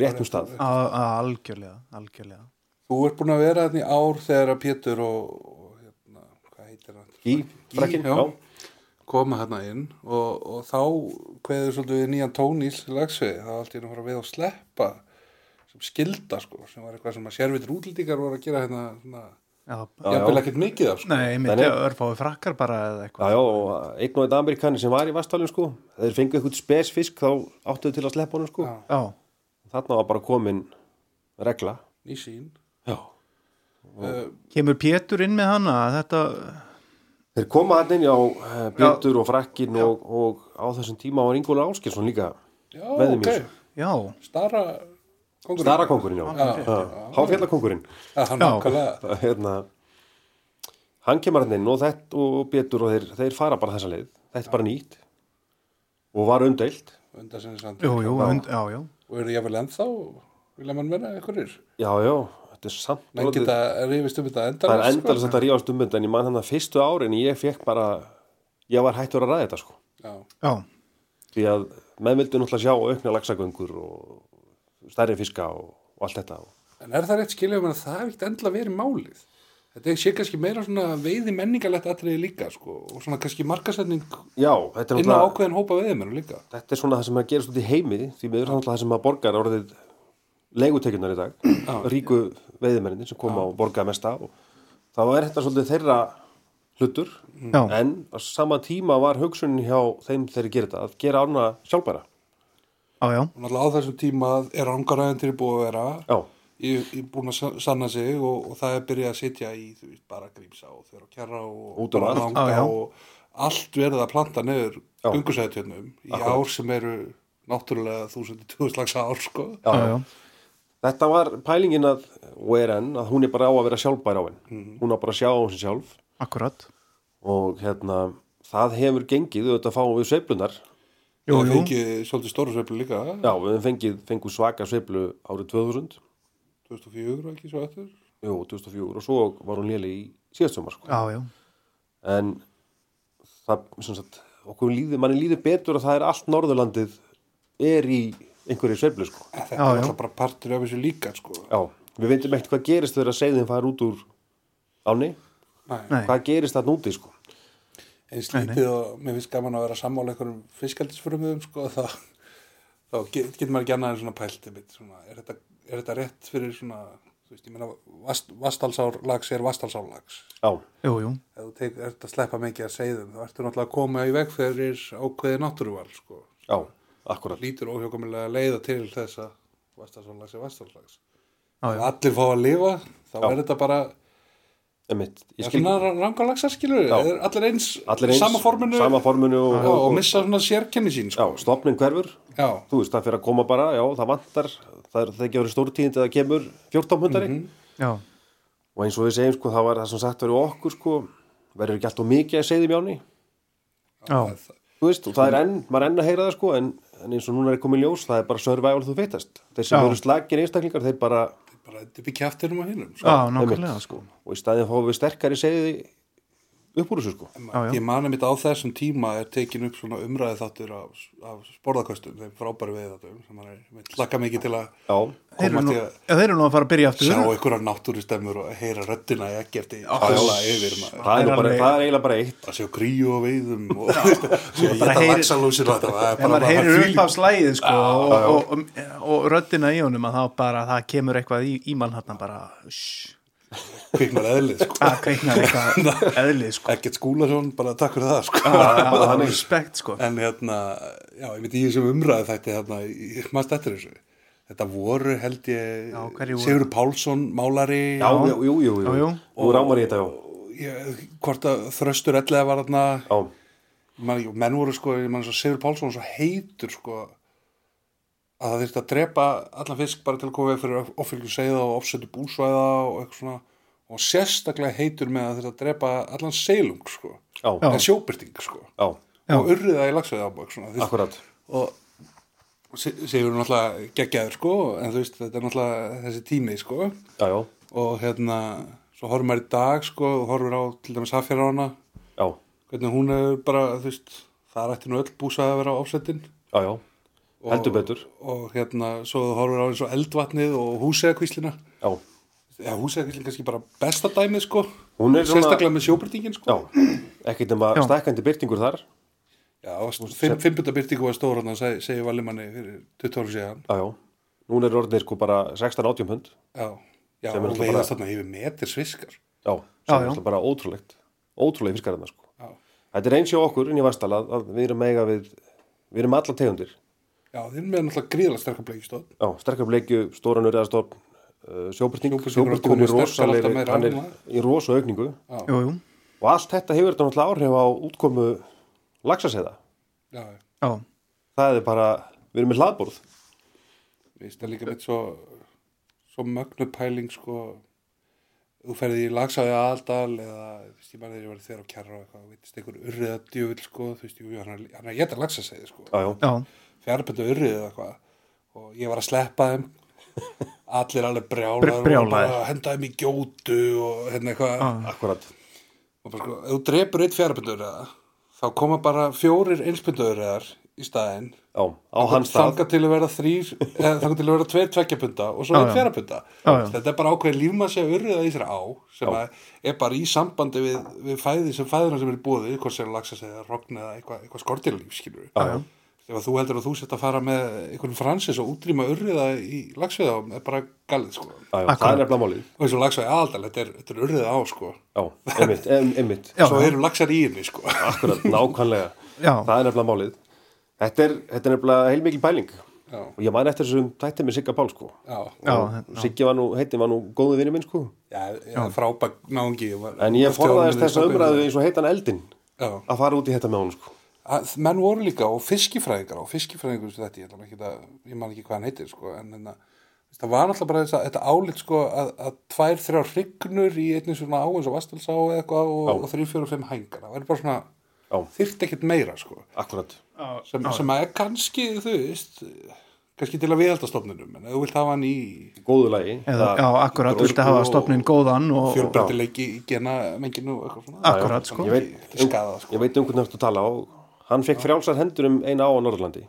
réttum stað
á, á, algjörlega, algjörlega.
Þú ert búin að vera þarna í ár þegar að Pétur og, og hérna, hvað heitir hann?
í frekkin,
já.
já,
koma hérna inn og, og þá kveður svolítið við nýjan tón í lagsvið, það var allt í einu að fara við að sleppa sem skilda sko, sem var eitthvað sem að sérvitur útlýtingar voru að gera hérna, svona,
Já,
ég vil ekkert mikið af sko.
nei, einmitt örfái frakkar bara eða
Já,
eitthvað.
já, og einn og einn Amerikani sem var í Vastalinn sko, þeir fengu eitthvað spesfisk þá áttuðu til að sleppa honum sko.
Já.
Já,
Þarna var bara komin regla.
í sín
Já.
Eh,
kemur Pétur inn með hana, þetta,
Þeir koma hann inn á Björdur og Frakkin og, og á þessum tíma var Ingóla Áskilsson líka
Já,
með þeim í
ok,
þessu.
já,
stara kongurinn
Starakongurinn, já. já. Háfjallakongurinn.
Já, hann
Já.
nákvæmlega
hérna, hann kemur hann inn og þett og Björdur og þeir, þeir fara bara þessa leið. Þetta er bara nýtt og var umdeilt.
undar sinni samt
jú, jú, und, já, já.
og eru jáfnvel ennþá, vilja mann vera einhverjir
Já, já, þetta er samt.
menn
dálítið-
geta rifist um þetta endar
það er endalins þetta rífast um þetta en ég man þannig að fyrstu árin ég fekk bara ég var hættur að ræða þetta sko
já,
Já,
því að menn vildu náttúrulega sjá aukna laxagöngur og stærri fiska og, og allt þetta og,
En er það rétt skiljum að það hefði ekkert endla verið málið? Þetta sé kannski meira svona veiði menningalegt atriði líka sko og svona kannski markasetning
já, þetta er
inn á
náttúrulega
ákveðin hópa veiðimennum líka.
þetta er svona það sem er að gerast út í heimi því miður er náttúrulega það sem að borgar orðið leigutekjunar í dag ríku veiðimenninni sem koma og borga mesta og þá er þetta svolítið þeirra hlutur
Já.
en á sama tíma var hugsunin hjá þeim þeirri gera þetta að gera ána sjálfbæra
já, já,
Og náttúrulega á þessum tíma er ángaræðin búið að vera
já,
í, í búin að sa- sanna sig og, og það er byrjað að sitja í þú veist bara grímsa og þeirra og kjara og
Út um
bara
allt.
langa
Já, já.
og allt verið að planta neður
Já.
gungusæðutjörnum í ár sem eru náttúrulega þúsundir tjóðslags ár sko.
já,
já, já.
Þetta var pælingin að, og er enn, að hún er bara á að vera sjálfbær á henn. Hún á bara að sjá á henn sjálf
akkurat.
og hérna, það hefur gengið, auðvitað fáum við sveiflunar.
Jú,
það
jú,
fengið svolítið stóru sveiflu líka
Já, við höfum fengið, fengið svaka sveiflu árið 2000,
2004 ekki svo eftir
jú, 2004 og svo var hún léli í síðastumar, sko.
já, já,
En það, sem sagt, okkur líði, manni líði betur að það er allt Norðurlandið er í einhverju sveiflu, sko.
Þetta
Já,
er
já.
alltaf bara partur af þessu líka sko.
Já, við veitum ekkert hvað gerist þegar að segðin fara út úr áni.
nei,
Hvað gerist það núti, sko?
eins lítið og mér finnst gaman að vera sammála einhverjum fiskaldisfrömmuðum sko, þá, þá get- getur maður ekki annað en svona pælti mitt svona, er, þetta, er þetta rétt fyrir svona þú veist, ég meina vast, vastalsárlags er vastalsárlags
Já,
jú, jú,
ef þú teik, ert að sleppa mikið að segðum þá ertu náttúrulega að koma í veg fyrir ákveði náttúruval sko.
já, akkurat.
lítur óhjókumilega leiða til þess að vastalsárlags er vastalsárlags
Já,
Ef allir fá að lifa þá er þetta bara
Emitt, ég
Já,
skil
svona rangalagsar skilur
Já.
við, allir eins,
allir eins,
sama forminu,
sama forminu og,
Já, og
og,
missa svona sérkenni sín
já,
sko.
stopnin hverfur
já.
þú veist, það fyrir að koma bara, já, það vantar það er það ekki verið stórtíðindi að það kemur 14 hundari
Mhm.
já,
og eins og við segjum, sko, það var það sem sagt verið okkur, sko, verður ekki alltaf mikið að segja því mjáni,
já,
þú veist, og það
Mm.
er enn, maður er enn að heyra það, sko, en, en eins og núna er komið ljós, það er bara survival þú fitast, þeir sem
Já.
eru slagir einstaklingar, þeir bara,
bara þetta er ekki aftur um að hinum sko.
já, nákvæmlega, sko,
og í staðin fáum við sterkari segði upp úr þessu, sko
já.
ég mani mitt á þessum tíma er tekin upp svona umræði þáttur af, af sporðakostum, þeim frábæri veið þáttum sem maður er, við laka mikið til að
já,
þeir eru
komast
nú,
í að
já, þeir eru nú að fara að byrja aftur,
sjá einhverjar náttúrustemmur og heyra röddina í ekkerti hjóla yfir maður
það er,
er
nú bara,
alveg-
það er eiginlega bara eitt
að sjá gríu og veiðum
[laughs]
og sjá
Bara
þetta
heyrir-
laxalúsir og þetta það er
ef maður
bara-
heyrir
það
upp af slæðið, sko, og, og, og, og röddina í honum að þá bara, það kemur eitthvað í, í mann hann bara, shhh,
kviknar eðlið sko.
það kveiknar [laughs] eitthvað eðlið, sko,
ekkert skúlason, bara takk fyrir það sko.
það er respekt, sko,
En hérna, já, ég myndi í þessum umræðu þætti hérna, ég maður stættir þessu. Þetta voru held ég
Já, hverjir voru?
Sigur Pálsson, málari
Já, já, jú, jú, jú,
Já, jú.
Nú rámar ég þetta, já.
ég, hvort að þröstur ellega var þarna
Já,
man, ekki, menn voru sko, ég man svo Sigur Pálsson var svo heitur sko að það þurfti að drepa allan fisk bara til að koma við fyrir offylgju seiða og offsetu búsvæða og eitthvað svona og sérstaklega heitur með að þurfti að drepa allan seilung sko,
já, já,
en sjóbyrting sko
já,
og urriða í lagsveða ábúk svona, þú veist.
akkurat.
og Sigur er náttúrulega geggjaður sko en þú veist þetta er náttúrulega þessi tími sko
Já, já,
og hérna svo horfum maður í dag sko og horfum á til dæmis Hafjara hana
já,
hvernig hún hefur bara þú veist það ætti nú öll búsað að vera ásettin
já, já, heldur betur.
og hérna svo þú horfum á eins og eldvatnið og húsegakvíslina
Já,
eða húsegakvíslin kannski bara besta dæmið sko
Hún er svona-
sérstaklega með sjóbyrtingin
já,
sko
ekkert nema
Já.
stækkandi byrtingur þar.
já, já fimmbundabyrtingu var stóra hann seg, segir Valimanni fyrir 20 ára síðan
Já, já, núna er orðinir sko bara 16-18 pund.
já, já og
Sem er náttúrulega
veiðast þarna yfir metr sviskar
Já,
Já,
sem er
já.
alltaf bara ótrúlegt. Ótrúlegt fiskarinn, sko.
já,
Þetta er eins hjá okkur inn í Vastal að, að við erum eiga við, við erum alla tegundir.
já þeir eru með náttúrulega gríðalega sterkar bleikistóð
Já, sterkar bleikju, stóran urðastofn, uh, sjóbyrting,
Sjóbirtingur að
sjóbyrtingur
koma
er
sterkar alltaf
rosalegri,
meira
hann er
ánægður.
í rosa aukningu.
jú, jú,
Og allt þetta hefur þetta náttúrulega áhrif á útkomu laxaseiða.
já, já
já,
Það er bara, við erum með hlaðborð.
Veist, það er líka mitt svo, svo mögnupæling sko þú ferði í lagsaði aðaldal eða þú veist, ég maður þegar ég var þegar á kjarra og eitthvað, þú veist, einhver urriða djöfull sko, þú veist, jú, jú, hann er- hann er að geta lagsa segið sko,
Já, já,
já,
fjárböndu urriða eða eitthvað og ég var að sleppa þeim allir alveg brjálar
Br- brjálaðir.
og bara henda þeim í gjótu og hérna eitthvað
Ah.
Já.
akkurat.
og bara sko, ef þú drepur eitt fjárböndu urriða þá koma bara fjórir einspöndu urriðar í staðinn
Já, á hans stað.
þangað til að vera þrýr þangað til að vera tveir tveggjapunda og svo
Já,
einn
já.
fjarapunda
Já, já.
þetta er bara ákveðin lífmassi að urriða í þessari á sem að er bara í sambandi við, við fæði sem fæðina sem er búið hvort sem lagsa sig eða rogn eða eitthvað eitthva skortilíf skilur
Já, já,
ef að þú heldur að þú sett að fara með einhvern fransis og útrýma urriða í lagsveðum er bara galið sko
já, já, það
Akkurat.
er nefnilega málið.
og eins og lagsveði aðaldal, þetta er, þetta er urriða á sko
Já, einmitt, em- einmitt.
[laughs] Já,
svo
já.
eru lagsar í henni sko
Akkurat, nákvæmlega.
Já.
Það er nefnilega málið. Þetta er, þetta er nefnilega heilmikil pæling.
já,
Og ég man eftir þessum tætti með Sigga Pál, sko.
já,
já, hérna.
Og Siggi var nú, heitin var nú góðu vinni minn, sko.
já, já frábæk náungi ég var-
En ég
eftir honum
forðaðist
í
þessa
stofnun.
umræðu eins og heitan eldin
já
að fara út í þetta með honum, sko.
að menn voru líka og fiskifræðingar og fiskifræðingur sem þetta, ég, ætla nú ekki að, ég man ekki hvað hann heitir sko, en hérna, það var náttúrulega bara þess að þetta álit sko, að, að tvær, þrjár hrygnur í einni svona á eins og vastalsá eða eitthvað og, og þrjú, fjóru, fimm hængar það verður bara svona,
Já.
þyrft ekkert meira sko,
Akkurat.
sem, sem að er kannski, þú veist kannski til að viðhalda stofnunum en ef þú vilt hafa hann í
Góðu lagi.
eða, já, akkurat, viltu hafa stopnin góðan og, og,
fjölbreytileiki í gena menginu og eitthvað svona
Akkurat, sko.
Ekki-
Ég veit-
ekki skada, sko.
Ég veit um hvernig þetta tala og hann fekk frjálsar hendur um eina á á Norðurlandi.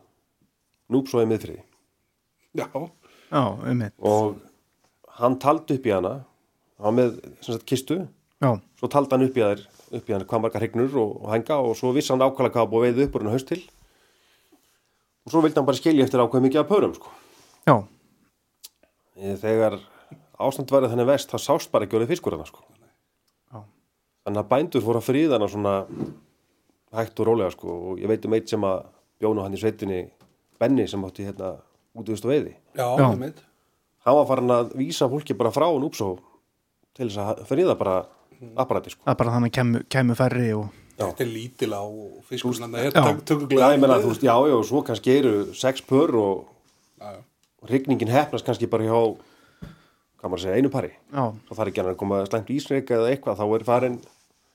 Núpsói miðfriði.
Já.
já, um mitt,
Og hann taldi upp í hana, hann var með sem sagt, kistu,
já,
svo taldi hann upp í, þær, upp í hann hvað margar hrygnur og, og hænga og svo vissi hann ákvæmlega hvað var búið að veiða upp úr hann haust til. Og svo vildi hann bara skilja eftir ákveð mikið af pörum, sko.
já,
Eh, Þegar ástand værið þannig vest, það sást bara ekki orðið fiskur hann, sko.
já,
Þannig að bændur fóru að fríða hana svona hægt og rólega sko og ég veit um eitt sem að bjónu hann í sveitinni Benni sem átti hérna útvist og veiði.
Já,
Já.
ég veit.
Hann var farin að vísa fólki bara frá hún úpsó til þess að fríða bara apparati sko.
það er bara þannig kæmu, kæmu færri og,
Þetta er lítil á og fiskurinn hann
Já.
er
Já,
tökuglega
ég meina þú veist, já, já, svo kannski eru sex pör og
já.
rigningin hefnast kannski bara hjá hvað maður að segja, einu pari.
já,
Þá þarf ekki hann að koma slæmt ísreika eða eitthvað, þá er farin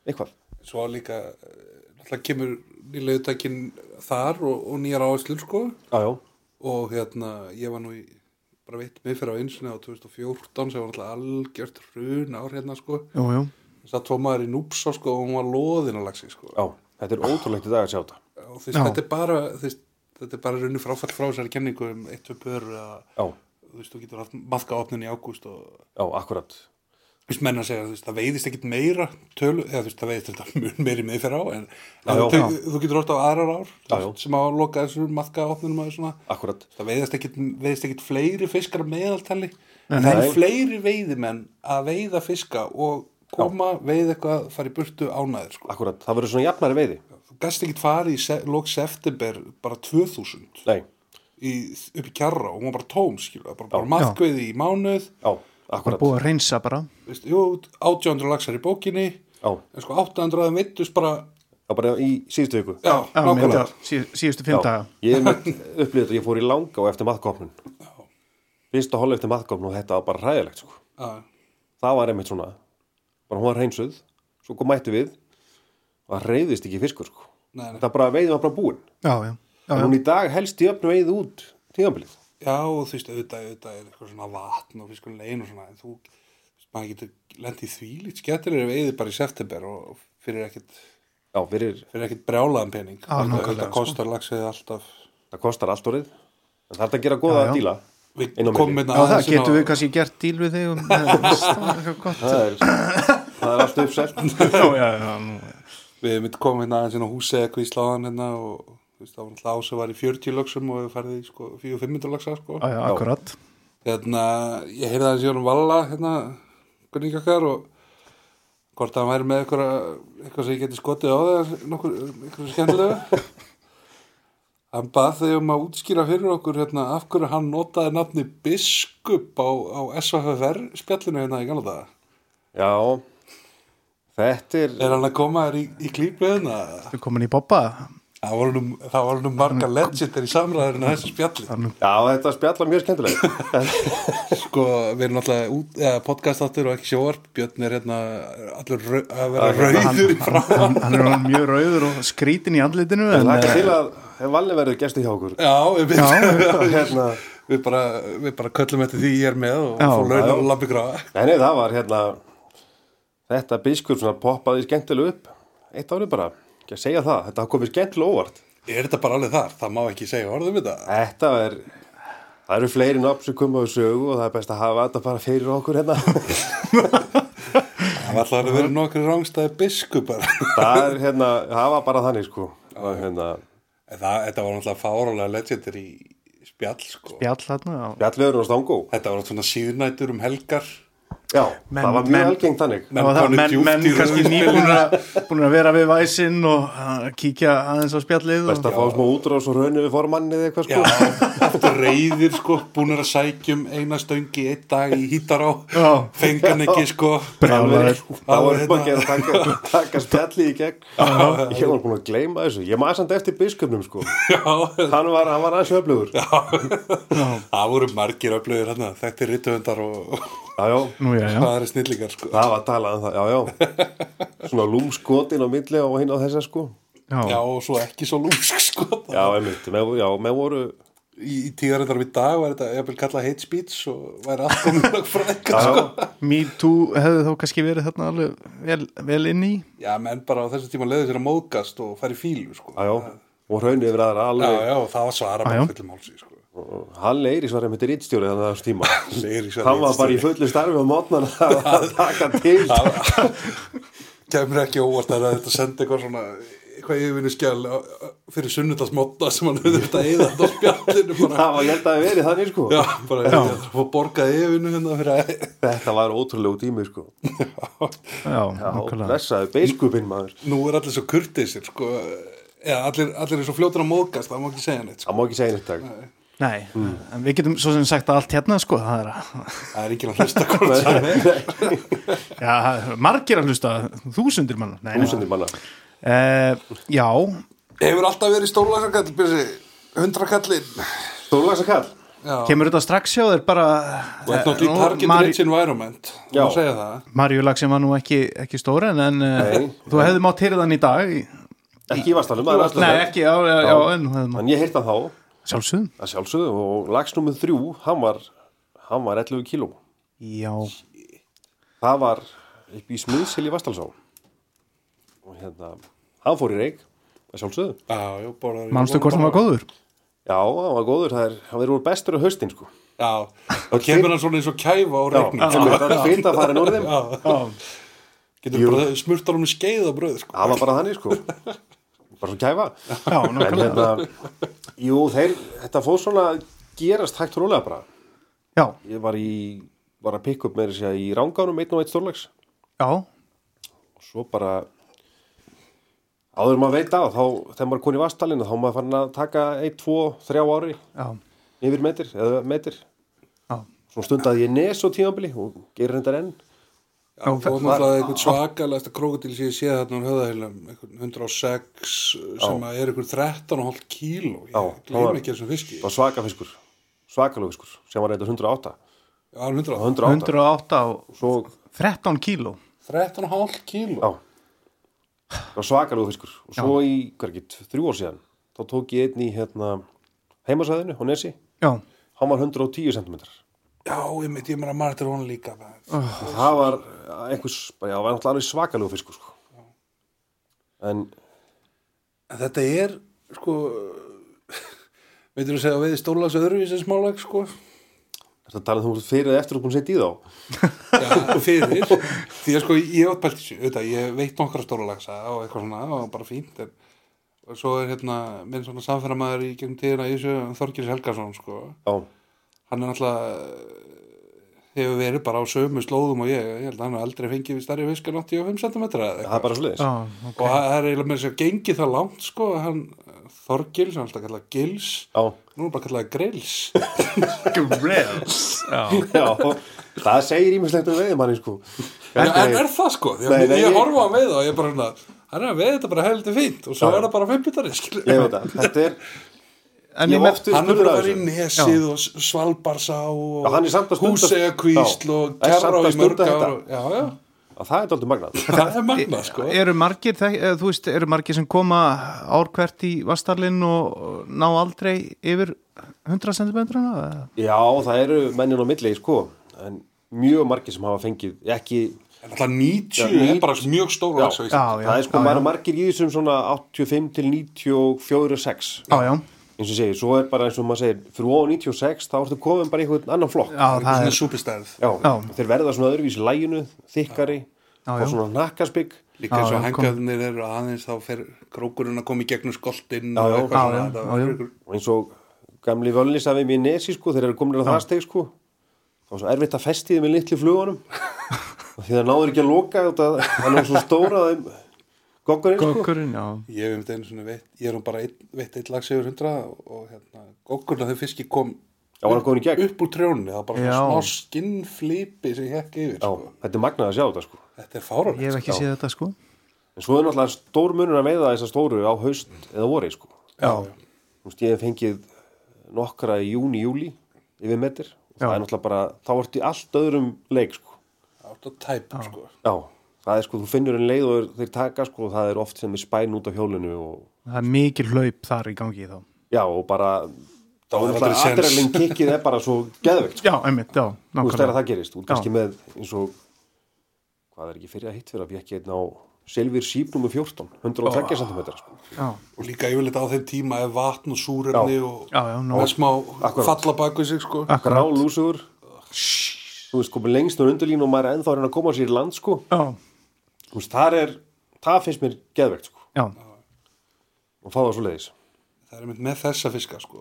eitthvað.
svo líka eh, náttúrulega kemur nýlega uttækin þar og, og nýjar áherslur sko
Já, já,
og hérna ég var nú í bara veitt mig fyrir á einsinni á 2014 sem var náttúrulega algjört hrun ár hérna sko
jú, jú,
satt var maður í núpsa sko og hún var loðin að lagsi sko
já, þetta er ótrúlegt í dag að sjá þetta.
og þvist,
Já.
þetta er bara þvist, þetta er bara runni fráfall frá þessari kenningu um eitt tvö pör eða
Já,
þú veist þú getur haft maðka opnin í ágúst og
já, akkurat.
Þú veist, menn að segja, þú veist, það veiðist ekkit meira tölu, eða þú veist, það veiðist þetta [laughs] mun meiri með fyrir á, en
Já, já.
þú, þú getur ótt á aðrar ár,
Já,
þú veist, sem á að loka þessu maðka opnum að svona,
Akkurat.
það veiðist ekkit, veiðist ekkit fleiri fiskar að meðaltali, en það
Nei.
eru fleiri veiðimenn að veiða fiska og koma, veiða eitthvað, fara í burtu ánæður, sko.
Akkurat, það verður svona jafnari veiði.
Þú gast ekkit farið í se lok september bara 2000,
Nei,
í, upp í kjarra og hún var bara tóm skilur, bara, bara maðkveði í mánuð
já,
bara
akkurat
búið að reynsa bara
veist, jú, 800 laxar í bókinni
já,
en sko 800 aðeim veittust bara
já, bara í síðustu viku
já,
Já, með
nákvæmlega
þetta sí, síðustu fimm daga
ég einmitt upplifði þetta, ég fór í langa og eftir maðkopnun fyrst að hola eftir maðkopnun og þetta var bara hræðilegt sko.
Já,
það var einmitt svona bara hún var hreinsuð, svo kom mættu við og það reyðist ekki fiskur sko.
Nei, nei.
það bara veiðið var bara búin
Já, já, já,
en
já.
hún í dag helst í öfnu veiðið út tíðanbilið
já, og þú veist, auðvitað, auðvitað er eitthvað svona vatn og fiskurinn legin og svona en þú, þú veist, maður getur lent í því lít skettilegri veiði bara í september og fyrir ekkit,
já, fyrir,
fyrir ekkit brjálaðan pening
Já,
Þetta-
nákvæmlega,
þetta
sko.
kostar laxið alltaf
það kostar allt orðið en það er að gera góða
Já, já.
díla
við
Inn á milli.
komum
Já,
hérna
það
aðeins inn á-
getum við kannski gert díl við þig [laughs] um, það er eitthvað gott
það er, það er allt uppselt
[laughs] Já, já, já, nú, já.
Við myndum koma hérna aðeins inn á húsi eða hvað í sláðan hérna og þú veist, það var alltaf ás að var í 40 lagsum og við færði í sko 400-500 lagsa sko.
Já, já, akkurat
Hérna, ég heyrði aðeins í honum Valla, hérna, kunningi okkar og hvort hann væri með eitthvað, eitthvað sem ég geti skotið á það, nokkur, eitthvað skemmtilega. hann bað þau um að útskýra fyrir okkur hérna af hverju hann notaði nafni Biskup á, á SFFR spjallinu hérna í gamla daga.
já, þetta er
Er hann að koma þér í, í klípu hérna?
Við komin í bobba
Það var nú, það var nú marga legendir í samræðurinn að þessu spjalli.
já, þetta spjalla mjög skemmtilega
Sko, við erum náttúrulega út, eða podcastáttur og ekki sjóarp, Björn er hérna allur rau, að vera rauður í frá.
hann, hann er orðinn mjög rauður og skrítin í andlitinu en,
það er
eh,
til að ef valli verður gestu hjá okkur
Já, við,
Og hérna,
við bara, við bara köllum eftir því ég er með og
Já,
fór laun og labbi gráða.
nei, nei, það var hérna þetta biskur svona poppaði skemmtilega upp eitt árið bara, ekki að segja það þetta komið skemmtilega óvart
Er þetta bara alveg þar? Það má ekki segja orðum þetta.
Þetta er Það eru fleiri nafn sem koma á sögu og það er best að hafa þetta bara fyrir okkur hérna.
Það var alltaf að vera nokkri rángstæði biskupar. [laughs]
það er hérna, hafa bara þannig sko. Og hérna,
En það, þetta var náttúrulega fárálega legendir í spjall, sko.
Bjall hérna já.
Bjallveður og Stangó.
Þetta var svona síðnætur um helgar.
Já,
Menn-
það var
menn-
mjög algengt þannig.
Það var það,
konur
menn,
djúpt
menn
í
kannski
rauðspilinu.
nýbúnir að, búnir að vera við væsinn og að kíkja aðeins á spjallið
Best
og,
að fá smá útrás og raunni við formanni eða eitthvað
Já,
sko.
oft reyðir sko, búnir að sækjum eina stöngi einn dag í hítará,
Já.
fengan ekki sko.
Brjálæður.
Það var
Alveg
upp að
hérna.
gera taka, taka spjalli í gegn. [laughs] Ég var búin að gleyma þessu. Ég maður samt eftir biskupnum sko.
Já,
Hann var, hann var aðeins öflugur. Já,
það voru margir öflöður hérna, þetta er rittuhundar og
já,
Nú, já, já.
það er snillingar sko.
það var talað um það. Já, já. Svona lúmskotin á milli og hinn á þessa sko.
Já, og svo ekki svo lúmsk sko.
Já, einmitt, með, já, með voru
Í, í tíðarindarum í dag var þetta, ég vil kalla hate speech og væri allt um komin að frækka sko.
Me Too hefði þó kannski verið þarna alveg vel, vel inn í
Já, menn bara á þessum tíma leiði sér að móðgast og færi fílu sko.
já, já, og hraunni yfir aðra
já,
alveg
já, og það var svara
Já, já.
bara fullum hálsi sko.
og Halli Eiris var einmitt rítstjóri þannig að þessu tíma
Leiðir sér
hann var bara í fullu starfi á [laughs] mótnan að taka til
kemur ekki á óvart að þetta sendi eitthvað svona eitthvað yfirvinni skjál fyrir sunnudagsmotta sem hann hefur þetta eða á spjallinu bara,
[laughs] það var ég held að verið þannig sko
já, bara já. og borgaði yfirvinni hérna fyrir að
þetta var ótrúlegu tími sko
Já,
já,
nákvæmlega
blessaði beiskupinn maður
nú er allir svo kurteisir sko, eða allir, allir er svo fljótur að móðgast það má ekki segja neitt sko.
það má ekki segja neitt dag
Nei,
Mm.
en við getum svo sem sagt að allt hérna sko, það er að [laughs]
það er ekki að hlusta hvort sem er
Já, það eru margir að hlusta, þúsundir manna Nei, nei.
húsundir manna
Uh, já,
hefur alltaf verið stólagsakall byrsi, hundrakallin
Stórlagsa kall
já,
kemur þetta strax hjá þér bara
og þetta náttúrulega í target rich environment
Eh, Já.
þú segja það
Marjulag sem var nú ekki, ekki stóra en, en uh,
Nei.
þú hefði mátt hýrðan í dag í-
ekki í vastanum maður er
Nei,
alltaf þar.
ekki, já, já, já en þú hefði mátt
en ég heyrta þá að
Sjálfsögum
sjálfsögðu og lagsnúmið þrjú hann var, hann var 11 kíló
Já,
það var upp í smiðsil í Vastalsá og hérna hann fór í reik að sjálfsögðu
já, já, borðar-
manstu hvort hann var góður?
já, hann var góður, það er, hann verið úr bestur á haustin sko [laughs]
já, þá kemur hann svona eins og kæfa á
já,
regnum
það var fint að fara norðum það
Getur bara smurt honum í skeið af bröð sko.
var bara þannig sko bara svo kæfa
Já,
en
nákvæmlega
hérna, jú, þeir þetta fór svona að gerast hægt og rólega bara
Já,
ég var í, var að pikka upp með þess að segja í ránganum einn og einn stórlags
já,
og svo bara áður en maður veit að þá, þegar maður er konið í vastalina þá er maður farin að taka 1, 2, 3 ári
já,
yfir metir eða metir
já.
svona stundaði ég nes á tíðanbili og gerir þetta enn
Já, og náttúrulega einhvern svakalegasta krókudil sem ég séð þarna á höðahilum, einhvern 106 sem að er einhvern 13,5 kíló, ég
það var-
gleym ekki þessum fiski.
það var svakafiskur, svakalöfiskur sem var reynda 108
Já, hann er 100,
108,
108 á
svo
13 kíló
13,5 kíló.
já það var svakalöfiskur og svo í, hver ekki, þrjú ár síðan þá tók ég einn í hérna heimasæðinu á nesi,
já,
hann var 110 cm
Já, ég mitt, ég meina margir hún líka. maður.
og það var einhvers, já, það var náttúrulega alveg svakalöfiskur sko. en
En þetta er, sko, veitum við segja að veiði stólas öðruvís en smálag, sko.
er að tala um þú ert fyrir eða eftir út búin að setja í þá
[laughs] Já, fyrir. Því að sko, ég átt pælt í þessu, auðvitað, ég veit nokkra stóra lagsa og eitthvað svona, og bara fínt, en og svo er hérna, minn svona samferðamaður í gegnum tíðina í þessu, Þorgils Helgason, sko.
já,
Hann er náttúrulega, hefur verið bara á sömu slóðum og ég, ég held að hann hafi aldrei fengið við starri fisk en 85 cm eða eitthvað.
það er bara svo leiðis
já, ok.
og það er eiginlega með þess að segja gengið það langt sko að hann Þorgils, hann er alltaf kallað Gils
já, [laughs]
nú er bara kallað Grils
já,
já, það segir ímislegt um veiðmanni sko
en er, er það sko, því að
Nei, nei,
ég,
ég-
ég horfa á hann veið og ég er bara hérna hann er að veið þetta bara heldur fínt og svo
Já.
er það bara fimmbitari skilur
ég veit að þetta er
en ég
ég hef
með
oft verið
hann er
spurður
bara
að
að vera í
þessu
Nesið og S- Svalbarsá og
Já, hann er samt að stunda-
Húsegakvísl
Já,
og
er samt
Kjarrá
að
í
stunda
mörg ár
þetta.
og- já, já,
að það er dálítið magnað
það er magnað sko
eru margir, þek- eða, þú veist, eru margir sem koma ár hvert í Vastarlinn og ná aldrei yfir 100 cm
já, það eru mennin á milli sko en mjög margir sem hafa fengið ekki,
en alltaf 90 er bara mjög stóra
Já.
lax á
já,
Íslandi.
já,
það er sko, maður er margir í þessum svona 85 til 94 6
já, já,
eins og segir, svo er bara eins og maður segir fyrir óan 96 þá ertu komin bara í einhvern annan flokk
já,
Það
það
er
er
súpistærð
Já,
Já.
þeir verða svona öðruvísi læginu, þykkari
Já, já.
og svona nakkasbygg
Líka eins
Já,
og
já,
hengarnir eru aðeins þá fer krókurinn að koma í gegnum skoltinn
Já,
og
já.
eitthvað
Já, já,
svona. þetta var
já, já.
einhver-
og eins og gamli völnisa við mér nesi sko, þeir eru komin að það steg sko þá er svo erfitt að festi þeim í litlu
[laughs]
flugunum og því það náður ekki að loka þetta það er svo stóra að þeim goggurinn sko
gokkurinn, já
Ég hef um þetta einu svona veitt, ég er nú bara einn, veitt eitt lags yfir hundra og hérna, gokkurna þau fiski kom
Já, var hann komin í gegn?
upp úr trjónni, það var bara
Já.
svona smá skinnflipi sem hekk yfir,
Já,
sko.
þetta er magnað að sjá þetta sko
Þetta er fáralegt.
ég hef ekki
Já.
séð þetta sko
en svo er náttúrulega stór munur að veiða þessar stóru á haust eða vori sko
já,
Þú veist, ég hef fengið nokkra í júni, júli yfir metir og það
Já.
er náttúrulega bara, þá ertu í allt öðrum leik sko
Átt að tæpa, sko.
Já, það er sko, þú finnur en leið og er- þeir taka sko, það er oft sem er spæn út á hjólinu og
það er mikil hlaup þar í gangi þá
já, og bara þá
er
er
aldrei
alltaf
séns.
adrenalin kikkið er bara svo geðveikt, sko,
já, einmitt, já,
þú veist þegar
nákvæmlega
það gerist út kannski með eins og hvað er ekki fyrir að hitt fyrir að ekki einn hérna á Silvir Síp nr. 14, 130 cm sko.
já,
Og líka yfirleitt á þeim tíma er vatn og súrefni og
já, já, nú
og smá
Akkurat.
falla baku sig, sko.
akkurat,
grálúsugur þú veist, komið lengst úr undurlínu og maður er ennþá að reyna að koma sér í land sko,
já,
þú veist, þar er það finnst mér geðveikt sko,
já
og fá það svo leiðis
Það er mynd með þessa fiska, sko.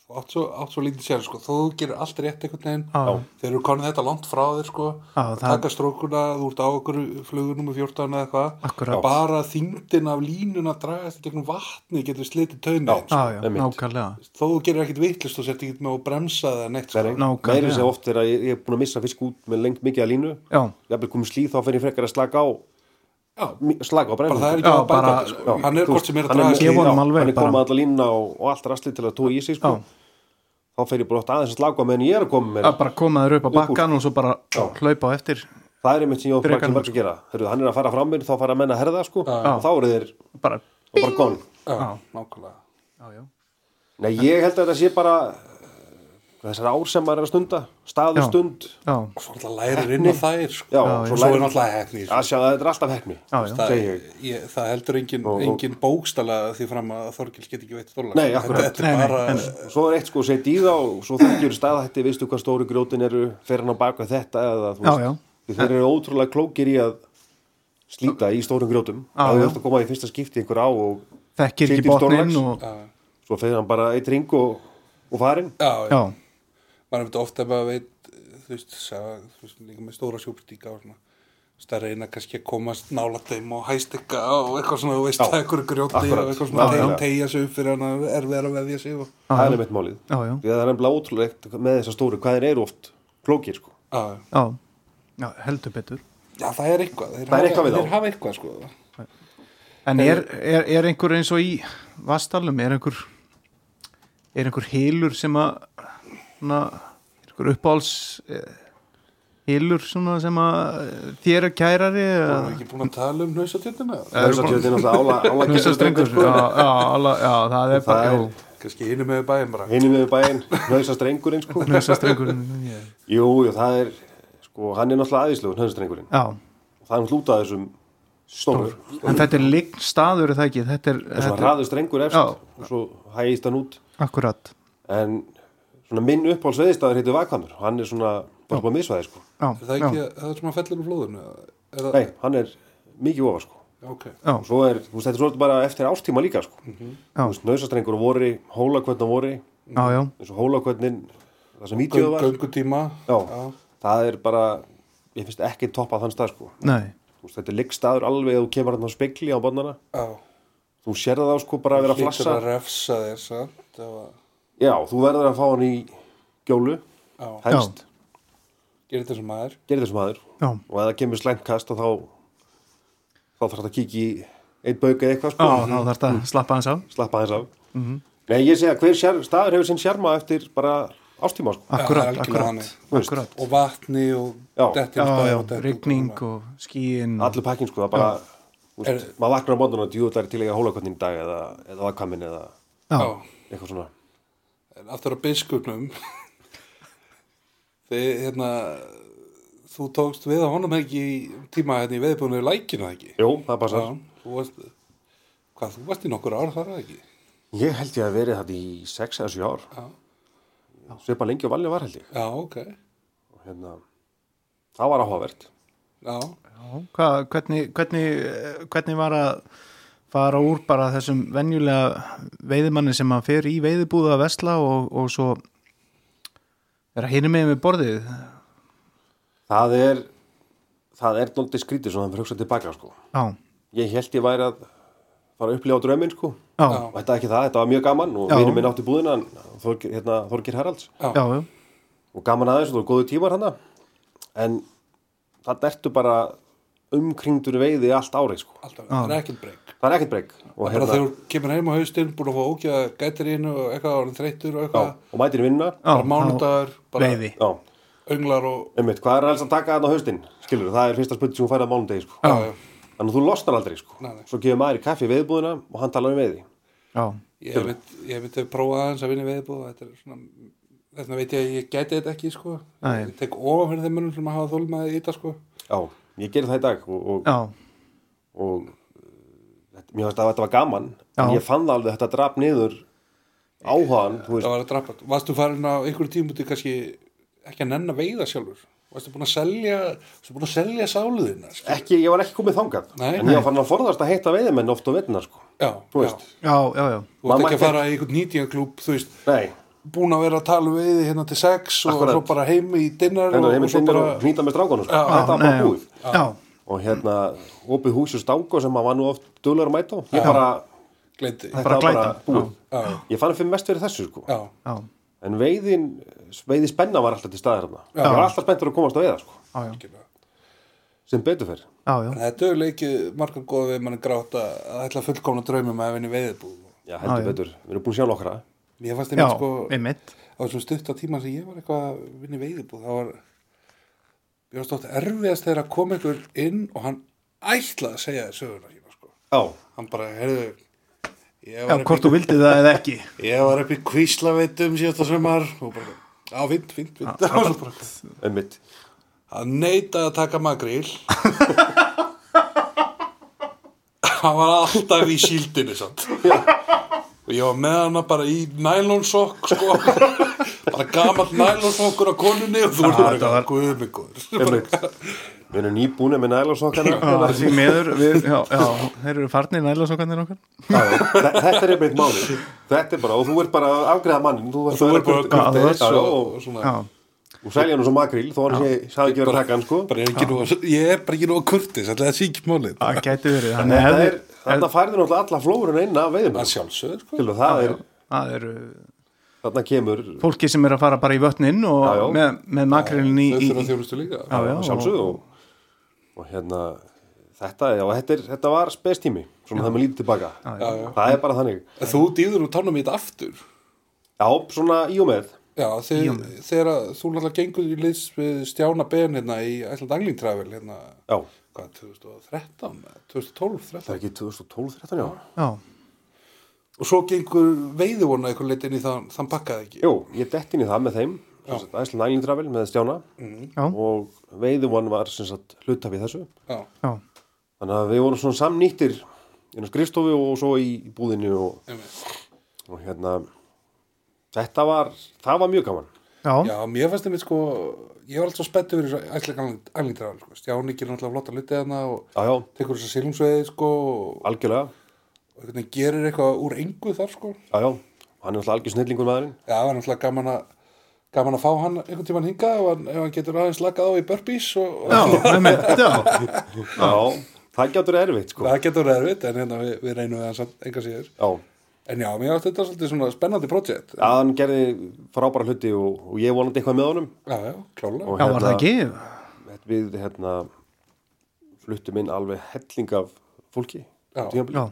Þú átt svo, átt svo lítið sér, sko. Þú gerir allt rétt einhvern veginn.
Já.
Þeir eru konið þetta langt frá þér sko
Já,
og
það-
taka strókuna, þú ert á okkur flugunum 14 eða eitthvað
Akkúrat.
bara þyngdin af línuna dragast í gegnum vatni getur slitið taunni
Já.
já, já,
Einmitt.
nákvæmlega
þó þú gerir ekkit vitlust og sért ekkit með að bremsa það neitt
það
sko.
er ein-
Nákvæmlega.
meira sem oft er að ég, ég er búin að missa fisk út með lengt mikið að línu
já,
jafnvel komið slíð þá fer ég frekar að slaka á
Já,
mi- slaka á
bara
brennum
það er ekki
Já,
á að bæta
bara-
þetta, sko. hann er hvort sem er að
mjög-
dragast
Ég
í
von- honum
Já,
alveg
hann er
bara.
komað allar línna og, og allt rastlið til að tóa í sig sko.
Já.
þá fer ég bara oft aðeins að slaka á meðan ég er að koma með
að bara koma þér upp á
Upp úr.
bakkan og svo bara hlaupa á eftir
það er einmitt sem ég oft
Frekar
margir margir að gera Heru, hann er að fara fram mér, þá fara menn að herða sko. og þá eru þeir
bara,
og bara gone
Já, nákvæmlega
já, já
Nei, ég held að það sé bara eh, þessar ár sem maður er að stunda staður
Já.
stund
já,
og svo alltaf lærir inn á þær sko.
Já,
og svo
svo
er
lærir-
náttúrulega hefni
að sjá að þetta er alltaf hefni
Já, já.
það,
segi ég.
ég, það heldur engin, engin bókstala því fram að Þorgils get ekki veitt stóla
Nei,
þetta,
akkúrat.
þetta er bara
Og svo er eitt sko sett í þá og svo þekkjur staðhætti, veistu hvað stóru grjótin eru fer hann á baka þetta eða þú
Já, já.
Því þeir eru ótrúlega klókir í að slíta í stórum grjótum
Já,
að þú
já.
ert að koma í fyrsta skipti einhver á og
þekkir
Situr
ekki
í stórlax.
botnin og,
svo fer hann bara eitt ring og, og farinn
já,
já,
maður veit ofta bara veit þú veist, sá, þú veist líka með stóra sjúpstíka og svona veist, að reyna kannski að komast nála þeim og hæstikka og eitthvað svona, þú veist, það er einhverju grjóti
Akkurat.
og eitthvað svona,
Nákvæmlega.
þeim tegja sig upp fyrir hann að erfiðar að veðja sig og,
það er einmitt málið
Já, já.
því að það er ennbla ótrúlegt með þessar stóru hvað þeir eru oft klókir sko
já,
já, já, heldur betur
já, það er eitthvað, þeir,
Það er eitthvað við þá.
þeir hafa eitthvað, sko,
En er, er, er einhver eins og í Vastalum, er einhver er einhver hilur sem að svona, er einhver uppáhals eh, hilur svona sem að eh, þér er kærari
það er ekki búin að tala um hnausatjöndina,
Hnausatjöld er náttúrulega ála- ála-
Hnausastrengur já, já, alla- já, það er
Það
bara
er-
kannski hinum með bæðum bara,
hinum við bæinn, hnausastrengur sko.
Hnausastrengur
jú, jú, það er sko, hann er náttúrulega aðeinslegu hnausastrengur
Já,
það er hlútað þessum stóru
en þetta er líkt staður er það ekki, þetta er,
þessum
þetta
hraður strengur efst
Já.
og svo hægist hann út
er akkurat
en svona minn uppáhaldsveðistæður heitir Vakvamur og hann er svona bara upp á misvæði sko.
Já,
er það
já,
ekki, það er sem að fellur úr flóðinu, eða- er það,
nei, hann er mikið ofa sko.
ok,
já, Mhm.
og svo er, þú veist, þetta er svolítið bara eftir ástíma líka sko.
Já.
þú veist, nausastrengur á vori hólakvöldn á vori,
já, já,
eins og hólakvöldnin það sem vítjóð var
göngutíma,
já, það er bara, ég finnst ekki toppað þann stað sko.
nei
Þú veist, þetta er leikstaður alveg að þú kemur hann á spekli á bannana
já,
þú sérði þá sko bara að vera að
hlýtur
flassa
að refsa þér, sant, það var,
já, þú verður að fá hann í gjólu
já,
helst,
gerir þetta sem maður,
gerir þessum aður
Já,
og ef það kemur slæmt kast að þá þá þarf þetta að kíkja í einn bauk eða
já,
eitthvað sko,
þá þarf þetta að slappa hans á
slappa hans af nei, ég segja, hver sér, staður hefur sinn sjarma eftir bara ástíma sko.
Akkurat,
algjörlega
akkurat,
þannig.
Þú veist,
akkurat
og vatni og
Já.
dettin
já,
staðar
já,
og dettin
rigning
koma.
og skíin
allur pakkin sko, það bara þú veist, maður vaknar á mótnuna, djúðlar til eiga hólakotnin í dag eða, eða vakkamin eða
já,
Já.
eitthvað svona
En aftur á biskupnum [laughs] Þið, hérna Þú tókst við að honum ekki í tíma hérna í veðbúinu lækina ekki
jú, það passar
Þú varst Hvað, þú varst í nokkur ár þar eða ekki?
Ég held ég að verið þetta í 6 eða 7 ár.
Já.
Sveipa lengi og valið var held ég.
Já, ok
Og hérna, það var áhugavert.
Já,
Hva, hvernig, hvernig, eh, hvernig var að fara úr bara þessum venjulega veiðimanni sem að fer í veiðibúða að vesla og, og svo er að hinna með með borðið já,
Það er, það er náttúrulega skrítið svona fyrir að hugsa tilbaka sko. Ég held ég væri að fara að upplifa drauminn sko.
já, já,
Já.
Og þetta er ekki það, þetta var mjög gaman og
Já.
vinur minn átti búðina, hann Þorgir, hérna, Þorgir Haralds.
já,
Og gaman aðeins og það var góðu tímar hana. En það ertu bara umkringdur veiði allt árið sko.
alltaf, það er ekkert breyk
Það er ekkert breyk. Og, hérna,
Bara þegar þú kemur heim á haustinn búin að fá ókja gætir inn og eitthvað orðin þreyttur og
já,
eitthvað
og mætir í vinnuna.
Bara
þá-
mánudagur, bara
veiði
Já.
önglar og
Einmitt, hvað er alls að taka þarna á haustin? Skilur, það er fyrsta spurning sem hún færði á mánudegi, sko.
Já, já.
Þannig að þú losnar aldrei, sko.
Nei, nei.
Svo gefur maður í kaffi í veiðbúðina og hann talar um veiði.
já,
Ég hef mynd, ég myndi prófa aðeins að vinna veðbúð þetta er svona, þarna veit ég að ég gæti þetta ekki sko,
Nei.
ég tek ofan fyrir þeim munum sem að hafa þólmaði í þetta sko
Já, ég gerði það í dag og, og,
já,
og uh, þetta- mér finnst að þetta var gaman. En
Já.
ég fann það alveg að þetta drap niður áhagan, þú
það
veist.
var að drapa, varstu farin á einhverju tímuti kannski ekki að nenn að veiða sjálfur varstu búin að selja varstu búin að selja sáluðina sko?
Ekki, ég var ekki komið þangað.
Nei.
en ég var fann að forðast að heita veiðimenn oft á veitunar, sko.
já,
Þú
já,
veist.
já, já, já.
þú
Maður
ert ekki
mætti-
að fara í einhvern nýtíðanklúb þú veist,
Nei,
búin að vera að tala um veiði hérna til sex og
Akkurat. Hérna
svo bara heimi í dinnar
hennar
og,
heiminn
og svo
finnir
bara
og hnýta með strákunum, sko.
Já.
Þetta var bara
Nei,
búið.
já,
Og hérna, opið húsi og stanga sem maður var nú oft dölur að mæta á. Ég bara,
glendi
þetta
Bara
var bara
glætan.
búið.
Já.
Ég fann fyrir mest fyrir þessu, sko.
já,
já,
En veiðin, veiði spenna var alltaf til staðar hérna. Það var alltaf spenntur að komast að veiða, sko.
já, já,
ekki
Sem betur fer.
já, já.
En þetta er leikið margar góða við mann grátt að að ætla að fullkomna draumum að vinni veiðbúð.
Já,
Já,
heldur
já.
betur. Við erum búin að sjá nokkra.
Ég fannst
já,
einmitt sko,
einmitt
á þessum stutta tíma sem ég var eitthvað að vinni veiðbúð, þá var, ég var stótt erfiðast þegar að kom einhver inn og hann ætlaði að segja þér söguna sína sko.
Já.
Hann bara, heyrðu, ég
já,
var upp
hvort þú vildi það eða ekki
í- ég var upp í kvíslaveitum síðasta sömar og bara, á, fint, fint, [laughs] fint. Og svo bara,
Einmitt.
Hann neitaði að taka makrýl Hann var alltaf í síldinni samt Og ég var með hana bara í nælonsokk sko. Bara gamall nælonsokkur á konunni og þú voru bara
þetta var-
eitthvað guðmyggur
Einmitt. Við erum nýbúinir með nælarsokkana.
já, því meður, við, já, já, [laughs] þeir eru farnir nælasókanir okkar
Þetta er einmitt máli. Þetta er bara, og þú ert bara að afgreða mannin. Þú ert
Þú er bara
að
gafið
gafta
þess
þess
og, og
og...
svona
já,
og selja hann svo makríl þó hann sé, sagði ekki verið að taka hann sko
Bara er ekki nóg, ég er bara ekki nóg kurtis, alltaf það sé ekki málið.
það gæti verið
Þannig
þannig
að þetta
hefði,
er, þarna færði náttúrulega alla flórun inn af veiðum
Að sjálfsögur, sko.
Skilur, það er,
það eru
þarna kemur
fólki sem er að fara bara í vötnin og
Já, já.
með, með makrilinni
Þau
í,
þurfa
í,
þjónustu líka.
Já, já.
að sjálfsögðu og, og hérna þetta, já, þetta, er, þetta var spestími svona það með lítið tilbaka
já.
Já, já.
það er bara þannig
En Þú dýður úr tánum í þetta aftur.
já, svona í og með
Já, þegar, þegar að þú náttúrulega gengur í liðs við Stjána Ben hérna í Æsland Angling Travel hérna,
já,
hvað, 2013, 2012, 13.
það er ekki 2012-13 já,
já,
Og svo gengur veiðivona eitthvað leitt inn í þann, þann pakkaði ekki.
jú, ég detti inn í það með þeim æslan æglindravel með Stjána
Já.
og veiðumann var sem sagt hlutafið þessu
Já,
já,
þannig að við vorum svona samnýttir inn á skrifstofu og svo í búðinu og,
einmitt.
og hérna þetta var, það var mjög gaman
já,
Já, mér fannst einmitt sko, ég var alltaf spettu fyrir Æsland Angling Travel, sko. Stjáni gerir náttúrulega flotta lutið hérna og
já, já,
tekur þess að silungsveiði, sko, og
algjörlega
og einhvern veginn gerir eitthvað úr engu þar, sko.
já, já, hann er alltaf algjör snillingur maðurinn
Já, það var náttúrulega gaman að gaman að fá hann einhvern tímann hingað ef hann, ef hann getur aðeins lagað á í burpees og, og
já, einmitt, já.
já, það gætur erfitt sko já,
það getur erfitt en hérna við, við reynum við hann samt enga síður
já
en já, mér átti þetta svolítið svona spennandi projekt já,
hann gerði frábæra hluti og, og ég vonandi eitthvað með honum
já, klálega
og
já, var það ekki
hérna, við hérna fluttum inn alveg helling af fólki
Já.
á tímabili.
já,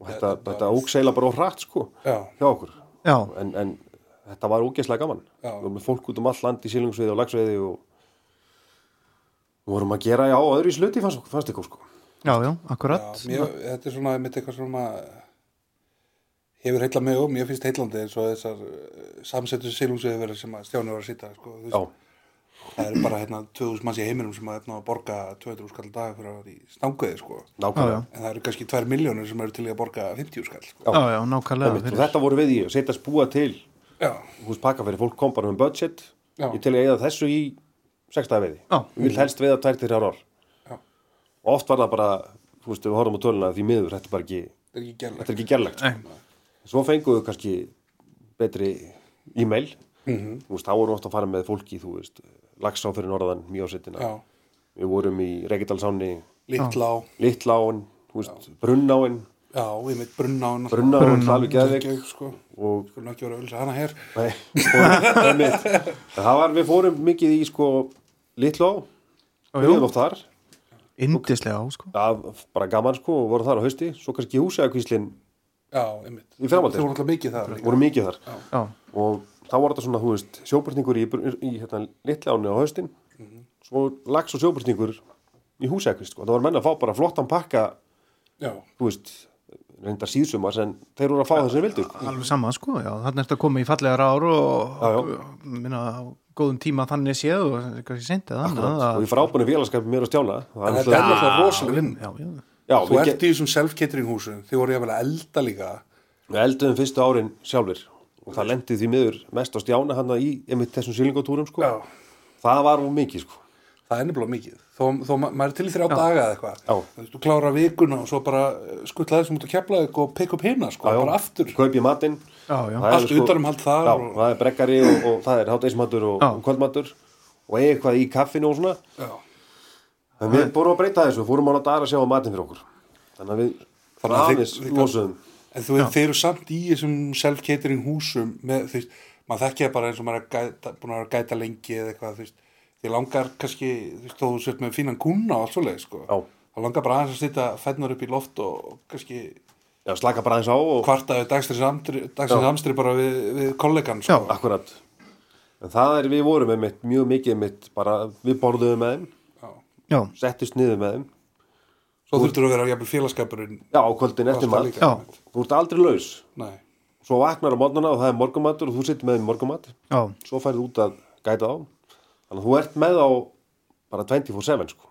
og þetta, þetta ógseila bara og hratt sko
já,
hjá okkur
já,
en, en þetta var ógeðslega gaman
Já.
við vorum með fólk út um all land í sílungsveiði og lagsveiði og við vorum að gera já, öðru í sluti fannst, fannst ykkur sko
já, já, akkurat
já mér, þetta er svona mitt eitthvað svona hefur heilla mig og mér finnst heillandi eins og þessar eh, samsetu silungsveðverðar sem að Stjáni var að sýta sko, þú veist.
já,
það er bara hérna 2000 manns í heiminum sem að efna að borga 200 skall dag fyrir að vera í stanguði sko.
já, já,
nákvæmlega
en það eru kannski 2 miljónir sem eru til í að borga 50 skall sko.
já, já, nákvæmlega
Einmitt, og
fyrir.
þetta voru við í að setjast búa til
já,
hús pakka fyrir fólk kom bara með budget
Já.
ég til að eigða þessu í sextaði veiði
Já.
Ég vil helst veiða tvær til þrjár ár
Já.
og oft var það bara þú veist, ef við horfum á töluna því miður þetta er bara ekki,
þetta er ekki gerlegt
þetta er ekki gerlegt sko.
Nei.
svo fenguðu kannski betri e-mail
Mhm.
þú veist, þá vorum við oft að fara með fólki þú veist, lagsá fyrir norðan, mjósettina
já,
við vorum í Reykjadalsáni
litla á
Littláin, þú veist, Brunnáin
já, ég meitt brunna á hennar
Brunnáin, alveg geðveik
Reykjavík, sko.
og
skulum ekki vera að ölsa hana hér
Nei, fórum, einmitt. En það var, við fórum mikið í sko Litló,
Já,
við
já,
erum oft þar
indislega á, sko
það, var bara gaman sko, og vorum þar á hausti svo kannski húsæðakvíslin
já, ég meitt
Í framhaldi.
þú voru alltaf mikið það líka.
voru mikið þar
já,
og þá var þetta svona, þú veist, sjóbyrtingur í, í hérna, Litláni á haustin
Mhm.
svo lags og sjóbyrtingur í húsæðakvísl, sko, það var menn að fá bara flottan pakka,
já,
þú veist reyndar síðsumars, en þeir voru að fá það sem þeir vildu sko.
alveg sama, sko já, þannig ertu að koma í fallegar ár og
Já, já.
minna á góðum tíma þannig séð og kannski seint eða annað
og
að-
í frábænu félagskapi mér og stjána það
en
er
þetta er
náttúrulega-
alltaf rosalega vinn
já, já,
Já,
þú
við
ert
ge-
í þessum self-catering húsum þið voru ég að elda líka
Við elduðum fyrstu árin sjálfur og það lendi því miður mest á stjána hann í einmitt þessum sílingotúrum sko.
já
Það var of mikið sko.
Það er nefnilega mikið, þó, þó ma maður er til í þrjá daga eða eitthvað,
Já.
þú veist, þú klára vikuna og svo bara skuttla þessum út að kepla eitthvað og pikk upp hina, sko, bara aftur,
Kaup ég matinn.
Já, já.
Það er, sko-
Allt utanumhald þar
Já,
og-
það er brekkari og, og það er hátægismatur og,
Já.
og kvöldmatur og eigi eitthvað í kaffinu og svona.
já,
En við búum að breyta þessu, fórum á nátt aðra að sjá um matinn fyrir okkur. Þannig að við
Þannig að
aðeins
þið- þið-
losuðum.
En þú veist, þeir eru samt í þessum self-catering húsum með, þú veist, maður þekki það bara eins og maður er gæta, búin að vera að gæta lengi eða eitthvað, þú veist, þið langar kannski, þú veist, þó þú sért með fínan kúna og allt svoleið, sko.
Já.
Það langar bara aðeins að sitja fennar upp í loft og og kannski
Já, slaka bara aðeins á og
kvartaðu dagstrins amstri, dagstrins amstri bara við, við kollegan,
Já.
sko.
akkurat. En það er, við vorum einmitt mjög mikið einmitt bara, við borðuðum með þeim,
Já.
já,
settist niður með þeim.
Svo þurftur að vera jafnvel félagskapurinn.
Já, á kvöldin
og allt
eftir
það
mat.
líka.
já,
Þú ert aldrei laus.
Nei.
Svo vaknar á morgunna og það er morgumatur og þú sittir með þeim í morgumat.
já,
Svo færðu út að gæta á. Þannig að þú ert með á bara 24-7 sko.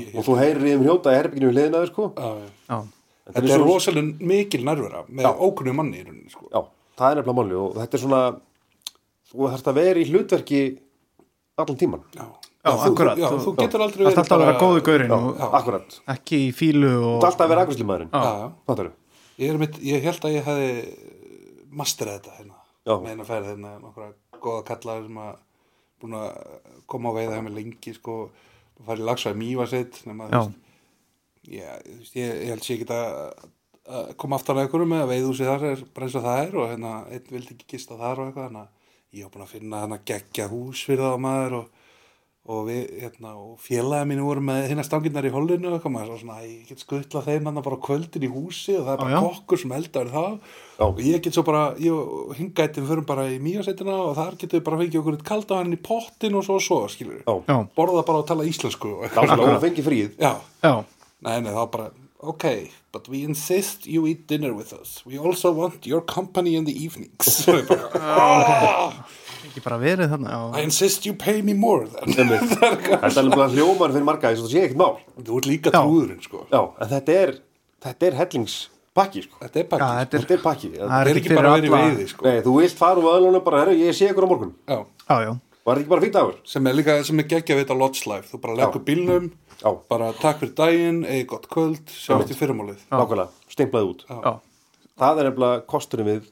Ég-
Og þú heyrir í þeim hljóta í herbygginu við hliðina á þér sko.
Já, já.
já,
En
Þetta er rosalega mikil nærvera með ókunnu manni í rauninni, sko.
Já, það er nefnilega máli og þetta er svona, þú þarfst að vera í hlutverki allan tíman.
Já,
Já,
þú-
akkurat.
Já, þú
Já.
getur aldrei
það er alltaf að vera
bara-
góðu gaurinn og
Já.
Akkurat.
ekki í fílu
Þú ert
og
alltaf að vera akkurslimaðurinn.
Já, já.
Hvað þarf?
Ég, er mitt, ég held að ég hefði masterað þetta hérna,
Já.
með eina færið hérna, um okkur góða kalla sem að búin að koma á veiða hjá mér lengi sko, farið lagsaði mývaseitt um nema
Já.
þú veist, já, þú veist, ég, ég held sé ekki að að koma aftan að ykkur með að veiðhúsið þar er brennsla þær og hérna einn vildi ekki gista þar og eitthvað þannig að ég var búin að finna hérna geggja hús fyrir það á maður og, og við hérna og félagið mínu voru með hérna stanginnar í hollinu og eitthvað maður svo svona æ, ég get skuttla þeim hann bara á kvöldin í húsi og það er
Já,
bara
já.
kokkur sem eldar þá
Já.
og ég get svo bara, ég og hingættin förum bara í mýjasætina og þar getum við bara fengið okkur eitt kalda hann í pottin og svo og svo skilur
Já.
já,
borða bara og tala íslensku og eitthvað
Dásamlega, hún fengi fríð.
já,
já,
Nei, nei, þá bara, ok, but we insist you eat dinner with us. We also want your company in the
[laughs]
evenings. Svo ég bara, "Ah,
ekki bara verið þarna
I
já,
insist you pay me more then.
Þetta er nefnilega hljómar fyrir marga þess að það sé ekkert mál.
[laughs] Þú ert líka
Já.
trúðurinn, sko.
Já, en þetta er, þetta er hellingspakki, sko.
Þetta er
já
bara,
þetta er,
Þetta er pakki.
það
þetta er ekki bara verið veiði, sko.
Nei, þú vilt fara úr aðlunum bara, herru, ég sé ykkur á morgun.
Já,
já, já,
Var þetta ekki bara fýtt dagur?
sem er líka, sem er geggja við þetta lodge life. Þú bara leggur bílnum,
Já.
bara takk fyrir daginn, eigi gott kvöld, sjáumst í fyrramálið.
Nákvæmlega, stimplaði út.
já,
Það er nefnilega kosturinn við,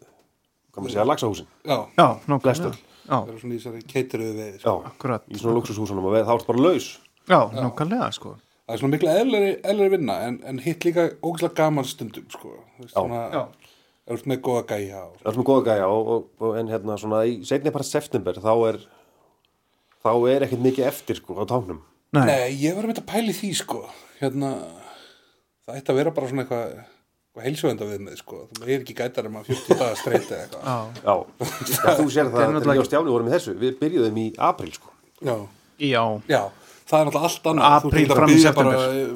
hvað maður segja, lagsahúsin.
Já,
já,
Flestöll.
nákvæmlega já,
það er svona í þessari keitiruðu veiði, sko.
Já,
Akkurat.
í svona luxushúsunum og veð, þá ertu bara laus.
já, nákvæmlega sko
Það er svona mikla eðlari vinna, en, en hitt líka ógæslega gaman stundum, sko. Þú veist,
Já.
svona,
Já.
ef þú ert með góða gæja og
Það er svona góða gæja og, og, og en hérna svona í setni part september þá er, þá er ekkert mikið eftir sko á tánum.
nei,
Nei, ég var að mynda að pæli því sko hérna, það ætti að vera bara svona eitthvað eitthvað heilsuvenda við með sko þú meir ekki gætar um að 40 daga streyta eitthvað
já,
Já, ja, þú
[laughs]
sér það,
náttúrulega
þegar ég og Stjáni vorum í þessu, við byrjuðum í april sko.
já.
[laughs] já,
já, það er náttúrulega allt annað Þú ert
Apríl
ekki að
fram í
biðja
september.
bara, eh,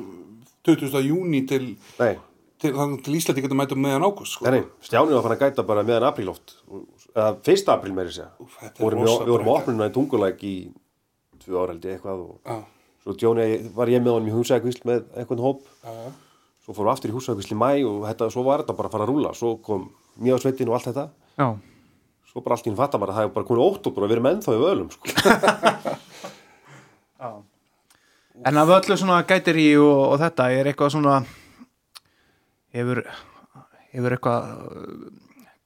20. júni til,
Nei,
til, þangað til Íslandi getur mætum meðan ágúst sko.
nei, nei, Stjáni var fann að gæta bara meðan april oft, og- eða fyrsta april meiri segja.
Úff, þetta er
Vorum
rosa
við, við vorum
brekka.
opnuna í tungulæk í tvö ára held ég eitthvað og
Já,
svo Stjáni var ég með honum í húsækvísl með einhvern hóp,
já, já.
svo fórum við aftur í húsækvísl í mæ og þetta, svo var þetta bara að fara að rúla, svo kom mjög sveitin og allt þetta.
já
svo bara allt í hún fattar maður að það er bara kunni óttúbur og við erum ennþá í völum sko.
En af öllu svona gætir í og, og þetta er eitthvað svona hefur, hefur eitthvað uh,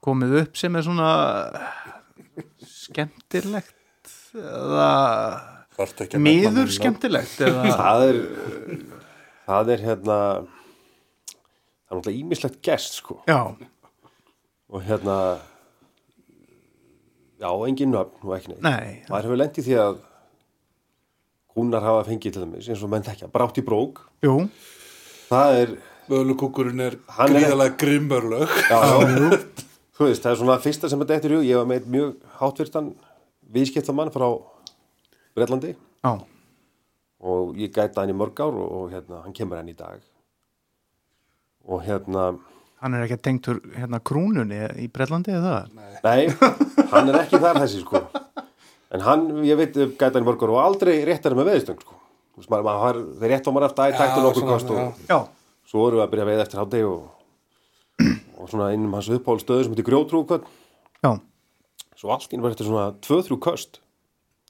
komið upp sem er svona uh, skemmtilegt eða
Það ert ekki að nefna
miður sko.
neinn nafn.
skemmtilegt [laughs] eða,
það er það er hérna það er náttúrulega ímislegt gest sko.
já,
og hérna já, engin nöfn og ekki neitt
nei
maður hefur lent í því að húnar hafa fengið til þeim eins og menn þekkja, brátt í brók
jú,
það er,
Völukúkurinn er
Hann er-
gríðalega grimmörlög
já, já þú veist, það er svona fyrsta sem þetta eftir í hug. ég var með einn mjög hátvirtan viðskiptamann frá Breitlandi
já,
og ég gæta hann í mörg ár og, og hérna, hann kemur hann í dag og hérna
hann er ekki tengtur hérna krúnunni í Brellandi eða það
nei, hann er ekki þar þessi sko en hann, ég veit, gæta hann í mörg ár og aldrei réttar með veðistöng sko Þú veist, maður, maður, har- þeir rétt á maður eftir aðtæktu nokkur kost og
já,
svo erum við að byrja að veiða eftir hátegi og, og svona innum hans uppáhald stöðu sem heitir grjótrú kvöld
já,
svo allt inn var þetta svona 2-3 köst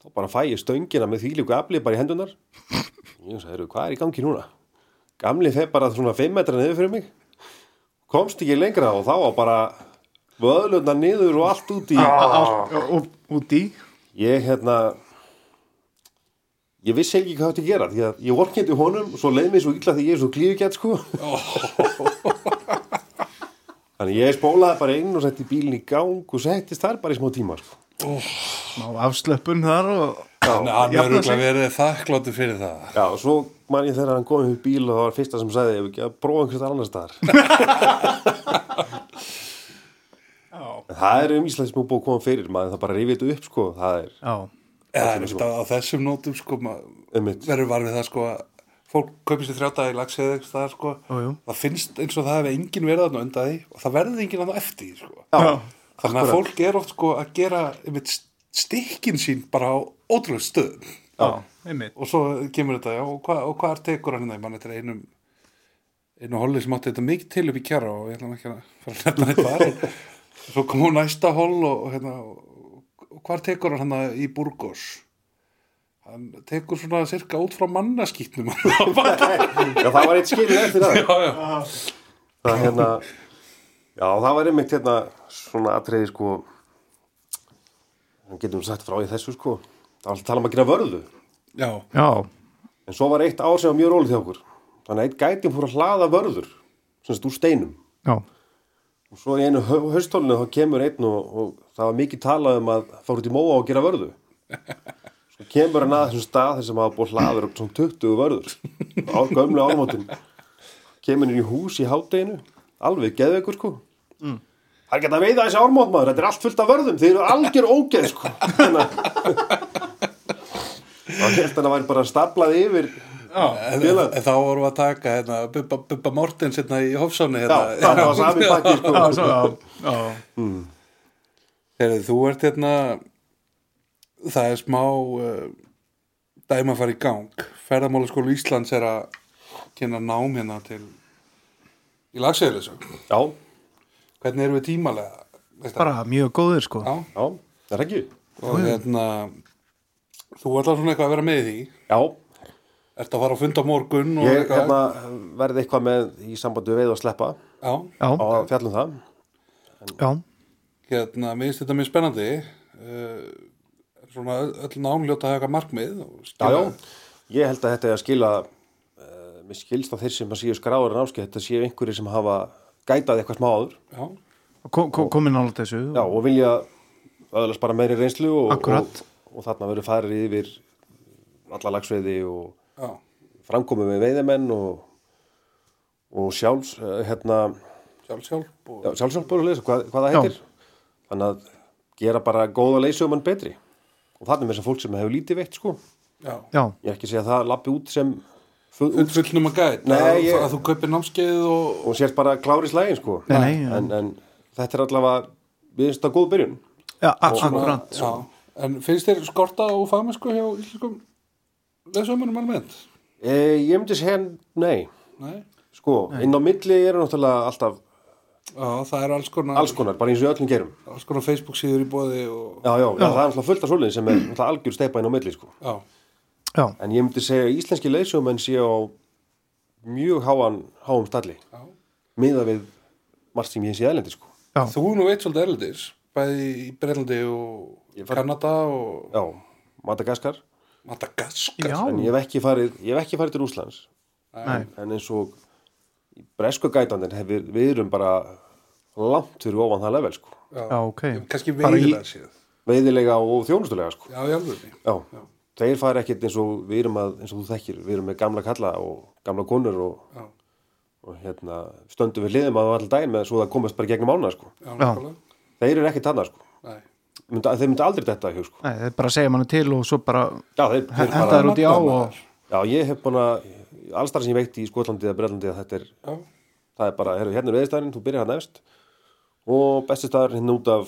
þá bara fæ ég stöngina með þvílíku aflið bara í hendunar ég sagði, "Heyrðu, hvað er í gangi núna? gamli þeir bara svona 5 metra niður fyrir mig komst ekki lengra og þá var bara vöðluna niður og allt út í
og, og út í
ég hérna ég vissi ekki hvað þetta gera því að ég vorkindi honum og svo leið mér svo illa því ég er svo glífugett sko [laughs] þannig ég spólaði bara inn og setti bílinn í gang og settist þar bara í smá tíma sko
má afslöpun þar og
Þannig að hann
jafna
er
sig.
auðvitað verið þakkláttu fyrir það
Já, og svo man ég þegar hann kom upp í bíl og það var fyrsta sem sagði, ef ekki að prófa einhvers annar staðar. En það er um Ísland sem er búið að koma fyrir, maður það bara rifið þetta upp, sko, það er
já,
Eða, er þetta á þessum nótum sko maður
ummitt.
verður var við það sko að fólk kaupir sér þrjáta í lagsið eða eitthvað sko
Jú, jú.
það finnst eins og það hefur enginn verið þarna undan því og það verður enginn þarna eftir því, sko.
já,
þannig að fólk er oft sko að gera einmitt stikkin sín bara á ótrúlega stöðum
já, einmitt
og svo kemur þetta já, og, hva, og hvað er tekur hann hérna? það mann þetta er einum einu holli sem átti þetta mikið til upp í kjara og ég ætla nú ekki að fara að nefna þetta þar en svo kom hún næsta holl og, og, hérna, og, og hvað tekur hann það í Burgos hann tekur svona cirka út frá
[laughs]
mannaskýtnum
Já, það var eitt skilin eftir það.
já, já.
það hérna, já, það var einmitt hérna svona atriði, sko, hann getum sagt frá í þessu, sko, Það var alltaf að tala um að gera vörðu.
já,
Já,
En svo var eitt ár sem var mjög rólið hjá okkur. Þannig að eitt gæti fór að hlaða vörður, sem sagt úr steinum.
já,
Og svo í einu haustólinu þá kemur einn og, og það var mikið talað um að fara út í móa og gera vörðu. Svo kemur hann að þessum stað þar sem hafa búið hlaður upp svona 20 vörður. Á gömlu álmótin. Kemur inn í hús í hádeginu, alveg geðveikur sko. Það er ekki hægt að veiða þessi ármót maður, þetta er allt fullt af vörðum, þeir eru algjör ógeð sko. Þannig að það held hann að væri bara staplað yfir
En, en,
félag.
en þá vorum við að taka hérna, Bubba, Bubba Mortens hérna í Hofsóni
Já,
hérna.
það var
[laughs]
sami pakki sko.
já, svo, já, já.
Heyrðu, þú ert hérna það er smá uh, dæma að fara í gang ferðamála skólu Íslands er að kynna nám hérna til í lagsegjulisum
Já,
hvernig erum við tímalega veist það?
bara mjög góður sko.
Já.
já, það er ekki.
og hérna þú ætlar svona eitthvað að vera með í því
Já,
ert að fara að funda á morgun og
Ég
eitthvað
hérna, verði eitthvað með í sambandu við að sleppa
já,
Já,
á að fjallum það.
já,
hérna, mér finnst þetta mjög spennandi uh, svona öll námljóta að hafa eitthvað markmið og
Já,
skila-
já. Ég held að þetta er að skila, uh, mér skilst að þeir sem að séu skráður en áskið, þetta séu einhverjir sem hafa gætað eitthvað smá áður.
já,
Ko- ko- komin nála þessu
Já, og vilja öðlast bara meiri reynslu og, og,
Akkúrat.
og þarna verður farið yfir alla lagsveiði og
já,
framkomi með veiðimenn og, og sjálfs, uh, hérna,
sjálf sjálf og,
já, sjálfsjálfbólulegs, hvað, hvað það heitir. Þannig að gera bara góða leysumann betri. Og þannig með þess að fólk sem hefur lítið veitt, sko.
já,
já,
Ég er ekki að segja að það lappi út sem full,
Full- fullnum að gæt
Nei,
að,
ég-
að þú kaupir námskeið og,
og sért bara klári slægin, sko.
Nei, nei, já.
en, en þetta er allavega, við finnst það góð byrjun.
já akkurat
já, en finnst þér skorta og fagmennsku hjá íslenskum lesumunum almennt?
E, ég myndi segja, nei,
Nei,
sko, inn á milli eru náttúrulega alltaf
já, það er alls konar
alls konar, bara eins og við öllum gerum.
alls konar Facebook síður í bóði og,
Já, já, já. það er alltaf fullt af svoleiðin sem er náttúrulega algjör steipa inn á milli, sko.
já,
já,
En ég myndi segja að íslenski leysumenn séu á mjög háan, háum stalli.
já
miða við margt sem ég sé aðlendi sko.
já,
þú er nú veit svolítið erlendis bæði í Breitlandi og
Ég far-
Kanada og
Já, Madagaskar.
Madagaskar
já,
En ég hef ekki farið, ég hef ekki farið til Úslands.
nei,
En eins og í bresku gætandinn hefur við erum bara langt fyrir ofan það level sko.
já, ok
kannski
Bara í-
veigilega séð
Veiðilega og þjónustulega sko.
já, í alveg
Já, þeir fara ekkert eins og við erum að, eins og þú þekkir, við erum með gamla kalla og gamla konur og,
já,
og hérna stöndum við liðum að allan daginn með svo það komast bara í gegnum ána sko.
já, nákvæmlega.
Þeir eru ekkert þarna sko.
Nei.
Mynda, þeir myndi aldrei þetta hjá sko.
Nei, þeir bara segja manni til og svo bara
Já, þeir, þeir
henda
bara,
þær út í á og
magnað.
já, ég hef búin að, allstar sem ég veit í Skotlandi eða Brellandi að þetta er
já,
það er bara, heyrðu, hérna er veðistæðurinn, þú byrjar hann efst og besti staður hérna út af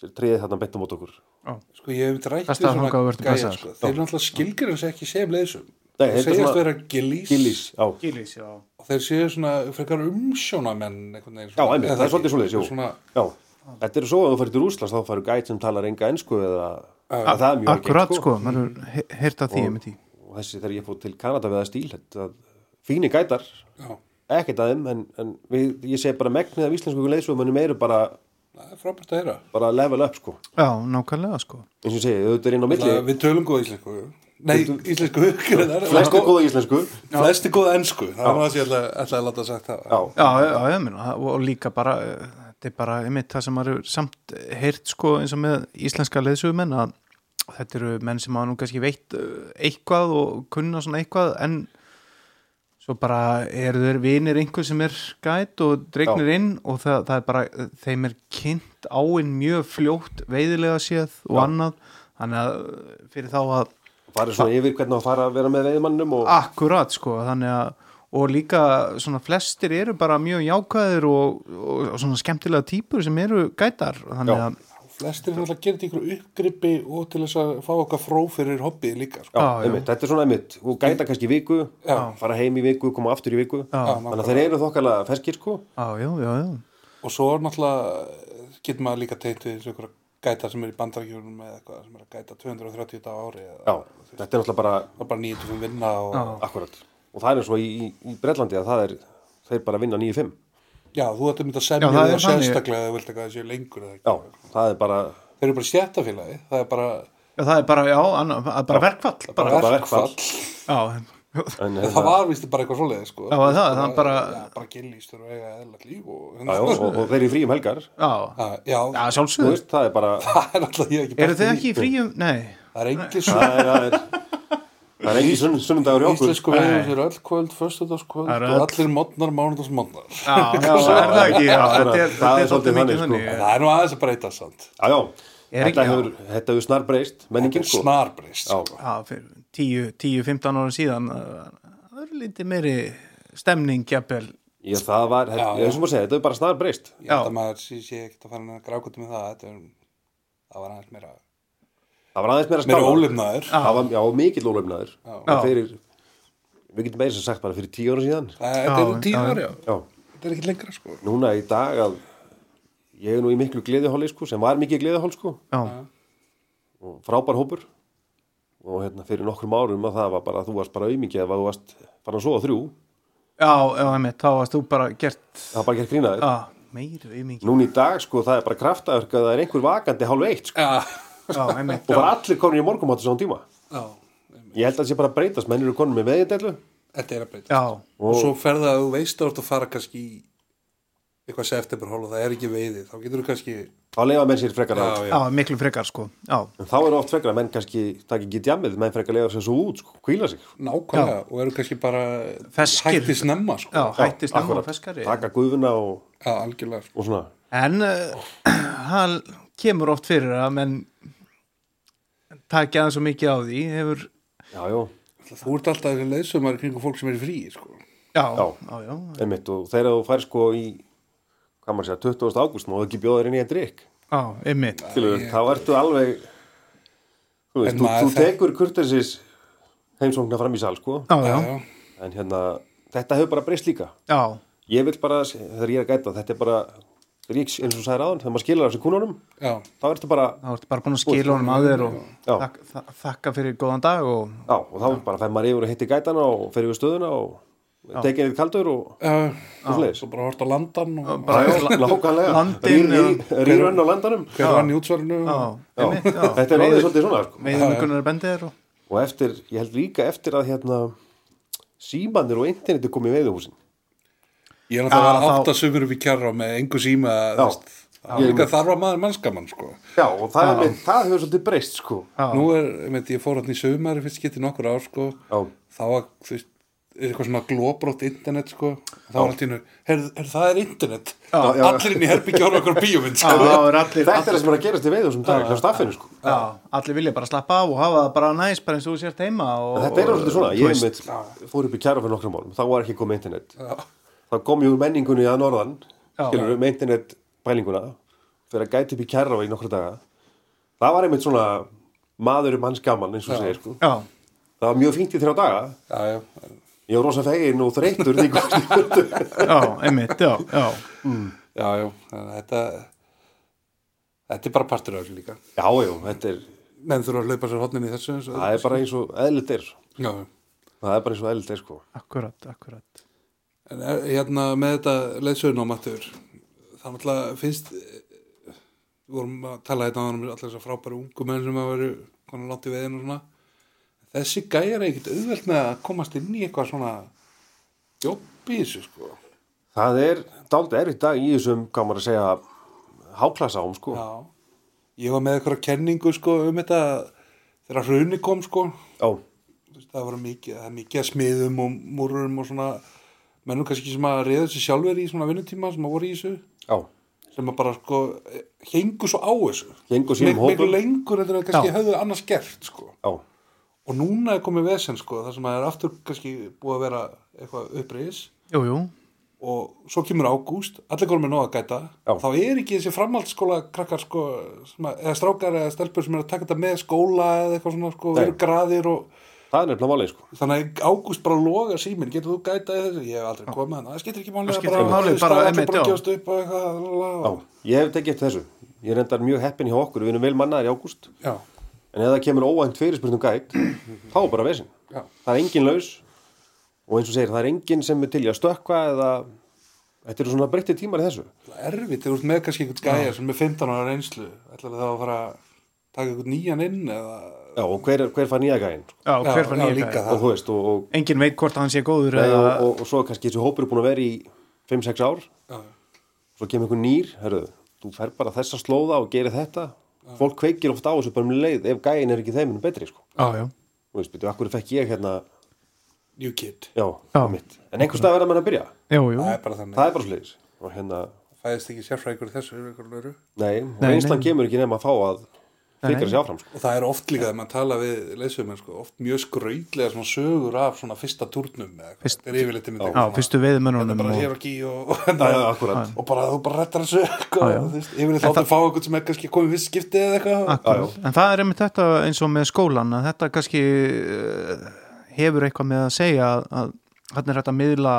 sér tríðið þarna beint á mót okkur
Sko ég hef rætt
Best að þangað þú ert blessaður.
sko. Þeir náttúrulega skilgjurinn sér ekki sem leysum. Þeir
Nei, þetta er
segjast
svona-
vera gillís,
Gillis, já,
Gílis, já,
og þeir séu svona frekar umsjónamenn einhvern veginn.
já, einmitt, það er svolítið svoleiðis, jú
Svona,
já, þetta er svo að þú fyrir til Rúslands þá færðu gæt sem talar enga ensku eða að það er mjög algengt,
akkurat sko maður hefur heyrt að því um því
og þessi þegar ég fór til Kanada við að stíl þetta, fíni gætar,
já,
ekkert að þeim en, en við, ég segi bara megnið af íslensku leysumönnum eru bara,
það er frábært að heyra.
bara level up sko,
Já, nákvæmlega sko
eins og ég segi, auðvitað er inn á milli
Það- Við tölum góða íslensku. Nei, íslensku greinar.
flestu góða íslensku
Flesti góða ennsku. Það var það sem ég ætla, ætla að láta sagt það.
já,
Já, já, já, minn, og líka bara eh, þetta er bara einmitt það sem maður hefur samt heyrt sko eins og með íslenska leðsugumenn að þetta eru menn sem hafa nú kannski veitt eh, eitthvað og kunna svona eitthvað en svo bara eru þeir vinir einhver sem er gæt og dregnir inn og það, það er bara, eh, þeim er kynnt áinn mjög fljótt veiðilega séð og annað þannig að eh, fyrir þá að
farið svona yfir hvernig það fara að vera með veiðmannum og
Akkurat sko, þannig að og líka svona flestir eru bara mjög jákvæðir og, og, og svona skemmtilega típur sem eru gætar þannig
Já.
að,
Flestir náttúrulega gerir þetta ykkur uppgrippi og til þess að fá okkar fró fyrir hobbið líka. Sko.
Já,
Já, já.
einmitt, þetta er svona einmitt og gæta kannski í viku, fara heim í viku koma aftur í viku,
Já,
þannig að þeir eru þokkalega feskir sko,
á, já, já, já
Og svo er náttúrulega, getur maður líka teynt við eins og einhverja gæta sem er í bandarækjörnum eða eitthvað sem er að gæta 230 dag á ári eða
já, þetta er náttúrulega bara
það er bara 95 vinna og já,
akkurat, og það er eins og í, í, í Bretlandi að það er, þeir bara vinna 9-5
þú ættum þetta að
Já,
semja
það
það
er þannig.
sérstaklega eða þú vilt eitthvað að séu lengur eða
já,
ekki.
það er bara,
Þeir eru bara stjættafélagi, það er bara
Já, það er bara, já, anna, bara verkfall bara,
Bara
verkfall.
já,
En,
En það var vist bara eitthvað svoleið sko.
Já, var það? Það bara-
Já, bara gillís þurfa að eiga eðlagt líf og... Ah,
já, já, og,
[laughs]
og þeir eru í fríum helgar
já,
Já, já,
já
þú
sjálfsögur
veist, það er bara
það er alltaf ég ekki
eru
bætt
þið ekki í fríum, nei
Það er engin svo
það er, það er, það er engin sunn, sunnundagur hjá okkur
íslensku veður er öll kvöld, föstudagskvöld
Það
og
eru öll-
allir mótnar, mánudags mótnar
[laughs] já, já, er það ekki, já,
akkurat.
þetta er,
Það
þetta
er
er svolítið
þannig,
mikið
sko.
þannig
Það er nú aðeins að breyta samt
Já, já,
Er
þetta
ekki-
hefur, þetta hefur snar breyst menningin sko
Snarbrist
Já.
sko.
já, fyrir 10, 10, 15 ára síðan uh, það er lítið meiri stemning, jafnvel
Ég, það var, þetta,
Já, já.
ég sem að segja, þetta er bara snar breyst
Ég held að maður sé, sé ekkert að fara að grákutu með það Þetta er, það var aðeins meira
Það var aðeins meira
meira
skala.
ólefnaður
Það var, já, mikill ólefnaður
Já.
Fyrir, við getum meira sem sagt bara fyrir tíu ára síðan
Þetta
Já,
eru tíu
já.
ári, já
Já,
Þetta er ekki lengra sko
núna í dag að ég er nú í miklu gleðihóli sko, sem var mikið gleðihóli sko
já,
og frábær hópur og hérna fyrir nokkrum árum að það var bara þú varst bara auðmikið að þú varst bara svo á þrjú
já, já, einmitt, þá varst þú bara gert
það var bara ekki að grína þér
já, meiri auðmingi
núna í dag sko það er bara kraftaverk að það er einhver vakandi hálf eitt sko
Já,
já, einmitt,
og bara allir konur í morgum áttu svona tíma
já
ég held að það sé bara að breytast menn eru konur með veðindellu
Þetta er að breyta
já,
Og svo ferða að þú veist að þú ert að fara kannski í eitthvað septemberhól og það er ekki veiði þá getur þú kannski
þá leifa menn sér frekar að
já, miklu frekar sko já,
en þá eru oft frekar að menn kannski takk ekki djamið menn frekar leifa sér svo út sko kvíla sig
nákvæmlega og eru kannski bara
Ferskir.
hætti snemma sko.
já, hætti snemma
akkurat.
og feskari
taka guðuna og,
Já, algjörlega sko.
og svona
En uh, hann kemur oft fyrir að menn takja aðeins og mikið á því hefur,
já, já
Þú ert alltaf þessi leysumar kringu fólk sem er í fríi sko.
já, já,
Já.
já, já,
Einmitt, og þegar þú fær sko í hvað maður segja, 20. ágúst má þú ekki bjóða þér inn í einn drikk
einmitt,
Skilur, þá ertu alveg þú, veist,
En
þú,
maður
þú
þekk-
tekur kurtessis heimsóknar fram í sal sko
já, já,
Já,
en hérna, þetta hefur bara breyst líka
já,
ég vil bara, þegar ég er að gæta þetta er bara, þegar ég, eins og þú sagði ráðan þegar maður skilur af þessu kúnunum,
já,
þá ertu bara
þá ertu bara búin að skila honum að þér og
Já.
þak, þa- þakka fyrir góðan dag og,
já, og þá bara fer maður yfir og hitti gætana og fer yfir stöðuna og tekið eitt kaldur og,
já
og
Svo
sleiðis
bara hort á landan og
Lákanlega,
Landin
rýrun rýr, á landanum
hver var hann í útsvarinu
já,
og-
einmitt, já,
Þetta er orðið svolítið svona sko.
með um einhvernar bendir og,
og eftir, ég held líka eftir að hérna, símanir og interneti kom í veiðuhúsin
Ég er náttúrulega
Já,
að vera
þá-
átta sögur upp í kjarra með engu síma þú veist, það er líka þarf að maður mannskaman sko.
Já, og það, er, með- það hefur svolítið breyst sko.
Nú er, með, ég fór hann í sögumæri fyrst getið nokkur ár sko.
Já.
þá var, þú veist, er eitthvað svona glóbrótt internet sko. þá var allt í nú, her, her, það er internet
Já, já.
allir inn í herbyggja og okkur bíómynd
já,
sko.
þá er allir,
Þetta er það sem er að gerast í veiðuhúsum dag hjá staffinu sko.
já, allir vilja bara slappa á og hafa það bara næs, bara eins og þú sért heima og,
Þetta er svolítið svona,
þú
ég
veist,
með, fór upp í kjara fyrir nokkrum árum, þá var ekki komið internet þá kom ég úr menningunni að norðan
Já.
skilur með internet pælinguna fyrir að gæti upp í kjara í nokkra daga það var einmitt svona maður um hans gaman eins og segir sko.
já,
það var mjög fínt í þrjá daga
já, já,
ég var rosa fegin og þreytur [laughs] því komst í
já, einmitt, já, já
já, já þannig að þetta þetta er bara partur af þessu líka
Já, já, þetta er,
menn þurfa að hlaupa sér hotnin í þessu eins og-
það er bara eins og eðlit er.
já, já.
Það er bara eins og eðlit er, sko.
Akkurat, akkurat
en er- hérna með þetta leðsöðunám aftur það náttúrulega finnst eh, við vorum að tala þetta um allar þessar frábæru ungu menn sem að veru konar langt í veiðin og svona þessi gæjar er ekkert auðvelt með að komast inn í eitthvað svona jobb í þessu sko
Það er dálítið erfitt dag í þessum, hvað maður að segja, háklasaám, sko.
já. ég var með eitthvað kenningu sko um þetta þegar hruni kom sko
Já,
Þú veist, það var mikið, það er mikið að smiðum og múrurum og svona mennum kannski sem að reyða sér sjálfur í svona vinnutíma sem að voru í þessu
já.
sem að bara sko hengu svo á þessu
Héngu sínum
Mik- miklu
hópum.
lengur en það kannski höfðu annars gert sko.
Já,
og núna er komið vesen sko, það sem að er aftur kannski búið að vera eitthvað uppriðis
Jú, jú,
og svo kemur ágúst, allir komið nóg að gæta
Já.
þá er ekki þessi framhaldsskóla krakkar sko, sem að, eða strákar eða stelpur sem er að taka þetta með skóla eða eitthvað svona sko,
Nei.
eru graðir og
það er nefnilega málið, sko.
þannig að ágúst bara loga síminn, getur þú gæta þessu ég hef aldrei komið hann, það skiptir ekki máli
Það skiptir
bara-
ekki máli,
þú veist,
bara
það er
einmitt,
allir bara
já.
að gefast upp og eitthvað, la, la,
Já,
la.
ég hef tekið eftir þessu. Ég er endar mjög heppin hjá okkur, við erum vel mannaðar í ágúst.
Já,
En ef það kemur óvænt fyrirspurnum gæt, þá er bara vesinn.
já,
Það er engin laus og eins og segir, það er engin sem er til í að stökkva eða... Þetta eru svona breytti tímar í þessu.
Það er erfitt, þegar þú ert með kannski einhvern gæja sem er 15 ára reynslu ætlar það að fara að taka eitthvað nýjan inn eða
Já, og hver, hver fær nýja gæinn sko?
Já, hver var
já,
nýja
líka
gæði?
það.
og þú veist, og, og,
Engin veit hvort hann sé góður
og,
eða...
og, og, og svo er kannski þessi hópur er búin að vera í 5-6 ár
Já.
svo kemur einhver nýr, herruðu þú fer bara þessa slóða og gerir þetta fólk kveikir ofta á þessu bara um leið ef gæinn er ekki þeiminn betri sko.
Já, já.
og veist, betur, akkur fekk ég hérna
New Kid
já,
Já.
mitt, en einhvers stað verða menn að byrja
Jú, jú.
það er bara þannig,
það er bara sliðis og hérna,
fæðist ekki sérfræðingur í þessu yfir einhverjum öðru.
nei, og
Nei,
einslan
nei.
kemur ekki nefn að fá að
nei.
flikra sér áfram sko.
og það er oft líka þegar maður tala við leysumir sko, oft mjög skrautlega svona sögur af svona fyrsta turnum eða hvað,
Fyrst-
þetta er yfirleitt einmitt
Já,
eitthvað svona-
fyrstu
þetta er
veiðmönunum
bara
og...
hierarki og, og, hérna,
já, akkúrat.
og bara þú bara rettar þessu [laughs] eitthvað,
Já, já.
þú veist, yfirleitt áttu að fá eitthvað sem er kannski komið fyrst skiptið eða eitthvað
Akkurat. En það er einmitt þetta eins og með skólan að þetta kannski eh, hefur eitthvað með að segja að- að hann er hægt að miðla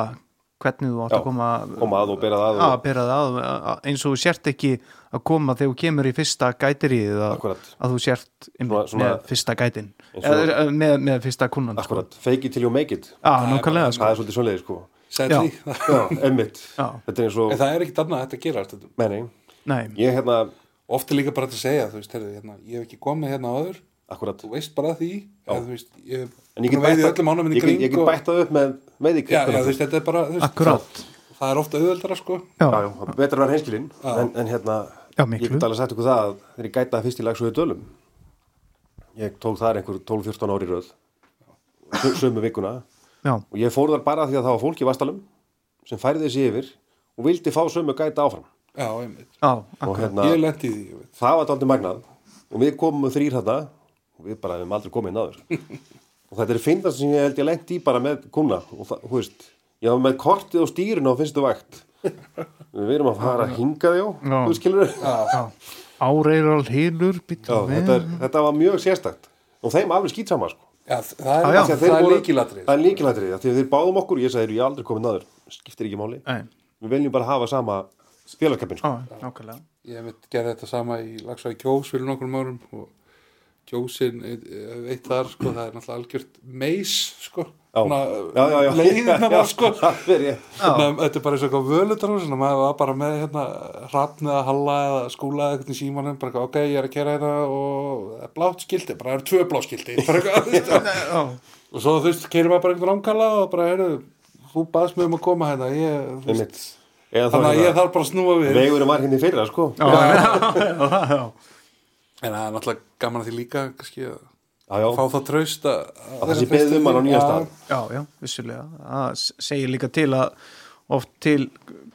hvernig þú átt
Já,
að koma
koma að og bera það
að
og,
bera það að- að- eins og þú sért ekki að koma þegar þú kemur í fyrsta gætirið að,
akkurat,
að þú sért
Svona-
einmitt
svona-
með fyrsta gætin
Eins og-
eða eh, með, með fyrsta kunnan sko.
akkurat, fake it till you make it
Já, nákvæmlega sko.
það er svolítið svolítið sko.
Sadly.
já, emmitt,
Já.
þetta er eins og
[laughs] en það er ekkit annað að þetta gera þetta.
Nei, nei,
Nei,
ég hérna
oft er líka bara hægt að segja þú veist, heyrðu, hérna, ég hef ekki komið hérna áður
akkurat,
þú veist bara af því eða, þú veist, ég
en ég get
hef veiði
bætt
öllum ánum
ég
minni
get,
kring
ég get
og-
bætt það upp með með
já, já, þú veist, þetta er bara þú veist,
akkurat
það- það er ofta auðveldara sko
Já,
já, já, það er betra að vera hreinskilinn en, en hérna,
Já, miklu.
ég get alveg sagt ykkur það að þegar ég gætaði fyrst í lags og dölum ég tók þar einhver 12-14 ári röð sö- sömu vikuna
já,
og ég fór þar bara því að það var fólk í vastalum sem færði þessi yfir og vildi fá sömu gæta áfram
já, einmitt.
já,
og
akkurat
hérna,
ég lendi í því ég veit.
það var daldið magnað og við komum þrýr hérna og við bara hefum aldrei komið
[laughs]
inn áður og þetta er finnast sem ég held ég lengt í bara með kuna og það, hú veist, ég var með kortið og stýrin á fyrstu vakt við erum að fara að hinga þjó
Já.
þú skilur Já,
Já. Áreiral hýlur
þetta, er, þetta var mjög sérstakt og þeim alveg skýtsama sko.
já, það
Já,
er,
já.
af því að
Þeir
það er sko.
voru-
líkilatrið
það er líkilatrið, af því að þeir báðum okkur ég sagði, "Heyrðu, ég er aldrei komið náður, skiptir ekki máli
Nei,
við viljum bara hafa sama félagskapin sko.
á, nákvæmlega
ég mitt gerði þetta sama í Lagsvæði Kjós fyrir nokkrum árum og Kjósin eh, veit þar sko, það er náttúrulega algjört meis sko,
Já. Já, já,
[laughs]
já. [laughs]
leiðina
Já,
var sko
það er ég.
Þannig, að Hérna, þetta er bara eins og eitthvað völutarhús þannig að maður var bara með hérna hrafn eða halla eða skúla eða eitthvað í símanum bara eitthvað, ok, ég er að kera hérna og það er blátt skildi, bara það eru tvö blátt skildi [laughs] bara eitthvað, þú veist.
Já,
og svo þú veist, keiri maður bara einhvern ámkalla og bara, heyrðu, þú baðst mig um að koma hérna ég, þú veist,
Einmitt. Eða þá
þannig að ég
hérna,
þarf bara að snúa við
vegurinn var hérna í fyrra sko.
já, já, já, já.
en það er náttúrulega gaman að því líka kannski að
Já, já.
fá það traust að
að það sé beðið um hann á nýja stað
[laughs] Já, já, vissulega. Það s- segir líka til að oft til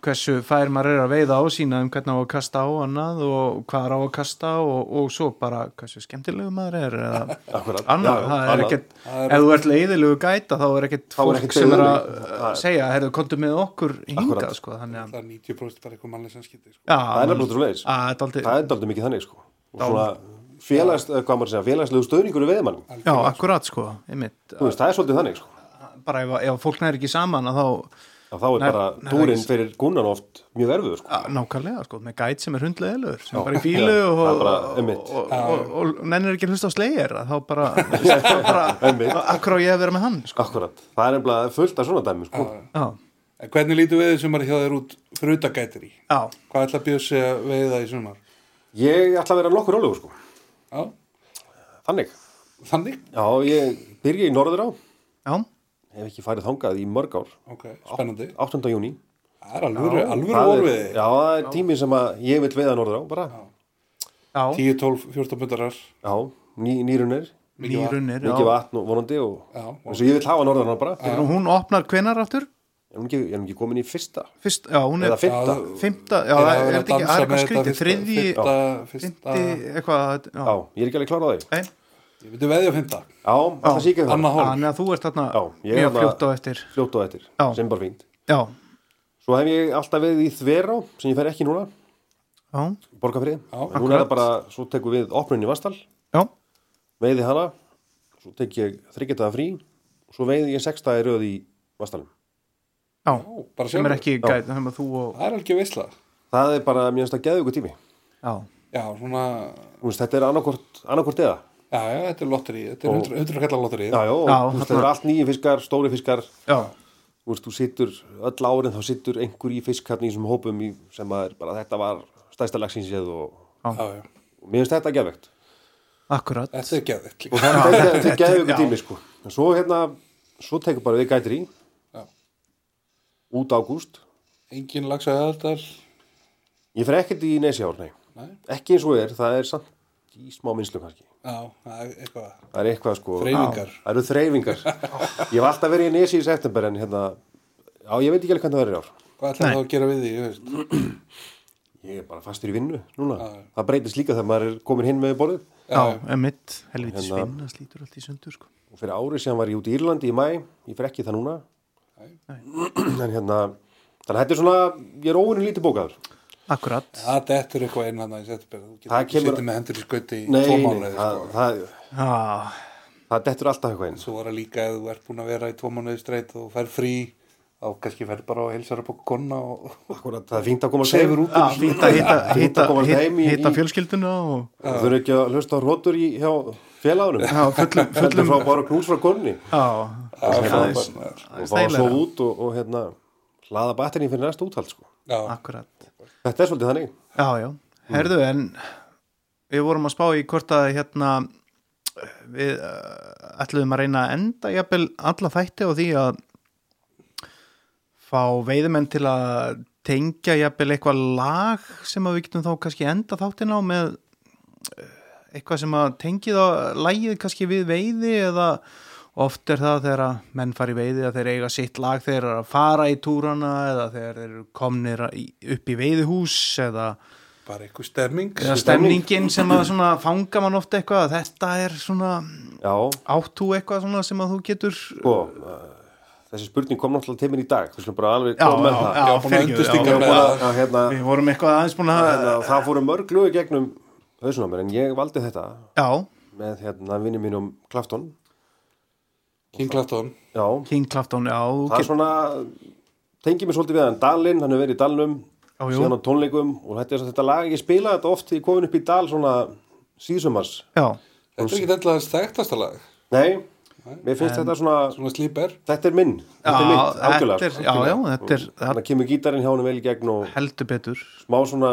hversu fær maður er að veiða á sína um hvernig á að kasta á annað og hvað er á að kasta og, og svo bara hversu skemmtilegu maður er eða
[laughs] Akkurat,
annað,
já, já,
það er
annað.
ekkert
Það er-
ef þú ert leiðilegu gæta þá er ekkert
Þá er
fólk
ekkert
sem er að
leiðilegur.
uh, segja, heyrðu, komdu með okkur hingað,
Akkurat.
sko, þannig að
það er 90% bara eitthvað mannlega samskipti sko.
Já,
það er
mann-
nefnilega svoleiðis.
að þetta aldrei,
það er daldið mikið þannig sko og svona félags, eh, hvað maður segja, félagslegu stöðningur við veðmann,
já, akkurat, sko einmitt,
þú veist, það er svolítið þannig sko
bara ef, ef fólk næri ekki saman að þá
að þá er
Nei,
bara
nei,
túrin
það
fyrir gunnan oft mjög erfiður sko
Já, nákvæmlega, sko, með gæt sem er hundleðilegur sem er bara í bílu
Já,
og,
það er bara,
og,
einmitt.
og, og, og nennir ekki að hlusta á slegir þá bara,
[laughs]
þá bara
Einmitt.
akkur á ég að vera með hann sko.
akkurat, það er nefnilega fullt af svona dæmi sko
já,
en hvernig lítur við sumar hjá þér út fyrir utagætir í
já,
hvað ætla Bjössi að veiða í sumar
ég ætla að vera nokkur rólegur sko,
já,
þannig
þannig
já, ég byrja í norður á
já,
hef ekki farið þangað í mörg ár
ok, spennandi
8. júni
það er alvöru, alvöru
það er,
orfið
já, það er tími sem að ég vil veiða norður á bara,
já
10, 12, 14 myndarar
já, ný, nýrunir
nýrunir,
mikið
já
vatn og vonandi og
Já,
eins og ég vil hafa norðan bara
Þegar hún opnar hvenar aftur
er hún ekki, er hún ekki komin í fyrsta
Fyrst, já, hún er
eða fyrta
Já,
fymta, já, það er þetta ekki það er eitthvað skrítið, þriðji,
fyrsta, fyrsta,
fymti eitthvað, já,
Já, ég er ekki alveg klár á því.
nei,
ég myndi veðja á fymta
Já, alltaf sé ekki um það.
annað hálf,
þannig að þú ert þarna
Já, ég er
mjög
þarna-
fljótt á eftir
Fljótt og eftir,
Já.
sem bara fínt.
já,
Svo hef ég alltaf veið í Þverá, sem ég fer ekki núna,
já,
borgarfrið.
Já,
en núna er það bara, svo tekum við opnunni í Vastal,
já,
veiði hana, svo tek ég þryggjataða frí, svo veiði ég sextaði röð í Vastalum.
já
Já, bara
sem er
sjálfur.
ekki gæt, þannig að þú og,
það er alveg veisla
Það er bara, mér finnst það geðu ykkur tími.
já,
já, svona,
Þú veist, þetta er annarkvort, annarkvort eða.
já, já, þetta er lotteri þetta er 100 100 kallar lotteri
Já, já, og
Já,
þú veist,
þarna-
þetta er allt nýju fiskar, stóri fiskar,
já,
þú veist, þú sittur öll árin, þá sittur einhver í fiskarni í þessum hópum í, sem að er bara, þetta var stæsta lagsinsið og
já, já
og mér finnst þetta gefvegt
akkurat
Þetta er geðveikt
og
líka.
það er þetta er geðveikur
já.
tími sko en svo hérna, svo tekur bara við gætir í
Já.
út ágúst
Engin lags að aðaldal.
ég fer ekkert í nesjár, nei
Nei.
ekki eins og er, það er samt í smá minnslu kannski,
Já, það er eitthvað.
það er eitthvað sko
Þreifingar.
Já, það eru
[laughs]
þreifingar ég hef alltaf verið í nesi í september en hérna, já ég veit ekki alveg hvernig það verður í ár
Hvað ætlar þá að gera við því, ég veist?
ég er bara fastur í vinnu núna
Já.
það breytist líka þegar maður er komin hinn með borðið
Já, emitt, helviti
Hérna-
svinn, það slítur allt í sundur sko.
og fyrir árið sem var ég út í Írlandi í mæ ég fer ekki það núna
Nei.
[clears throat] en hérna, þannig að þetta er svona ég er óinu lítið bókaður
Akkurat,
Það dettur eitthvað inn hann að ég setja bera. Þú getur
Það
ekki
kemur-
setið með hendur í skauti í
Nei,
tvo
nei,
mánuði,
það,
sko.
það,
já,
það dettur alltaf eitthvað eins
Svo var það líka ef þú ert búin að vera í tvo mánuði streyt og þú fer frí, þá kannski fer bara og heilsar upp á konna og
Akkurat, það er fínt að koma að
sefur út. um-
fínt [laughs] að hitta,
Fínt að
hitta,
komast heim
hitta,
í-
hitta
í-
fjölskylduna og
Þú eru ekki að hlusta á rótur í, hjá félagunum
já, fullum,
heldur
fullum
frá bara knús frá konni
já,
Það er
aðeins-
frábært.
og
aðeins
fá að
þægilegra.
sofa út og, og hérna hlaða batterinn fyrir næsta úthald sko.
Já,
akkurat,
Þetta er svolítið þannig
já, já herðu en við vorum að spá í hvort að hérna við uh, ætluðum að reyna að enda jafnvel alla þætti á því að fá veiðumenn til að tengja jafnvel eitthvað lag sem að við getum þá kannski enda þáttin á með eh, eitthvað sem að tengi þá lagið kannski við veiði eða oft er það þegar að menn fari í veiði að þeir eiga sitt lag þegar þeir eru að fara í túrana eða þegar þeir eru komnir að- í- upp í veiðihús eða,
bara eitthvað stemming.
eða stemningin sem að svona fanga mann oft eitthvað að þetta er svona
Já,
átt þú eitthvað svona sem að þú getur
sko uh, þessi spurning kom náttúrulega til minn í dag við skulum bara alveg
Já,
koma með
já,
það
já,
Já, búin að
fyrirgefðu, já.
undirstinga
Ég var
með
búin að- að, hérna,
Við vorum eitthvað aðeins búin að
hérna, það fóru mörg lög í gegnum hausnum á mér en ég valdi þetta
Já,
með hérna vinnum mínum Klafton
King Clapton.
já,
King Clapton, já, þú
það er
getur
svona tengið mér svolítið við hann Dalinn, hann hefur verið í Dalnum
Já, jú.
síðan á tónleikum og þetta er þetta lag ég spilaði þetta oft í komin upp í Dal svona síðsumars
Já,
Þetta er ekki alltaf hans þekktasta lag.
nei, mér finnst þetta svona
Svona slíper.
þetta er minn,
já,
þetta er mitt,
þetta
algjörlega
er,
sko.
já, já, þetta er það
þannig að kemur gítarinn hjá hann vel í gegn og
heldur betur
smá svona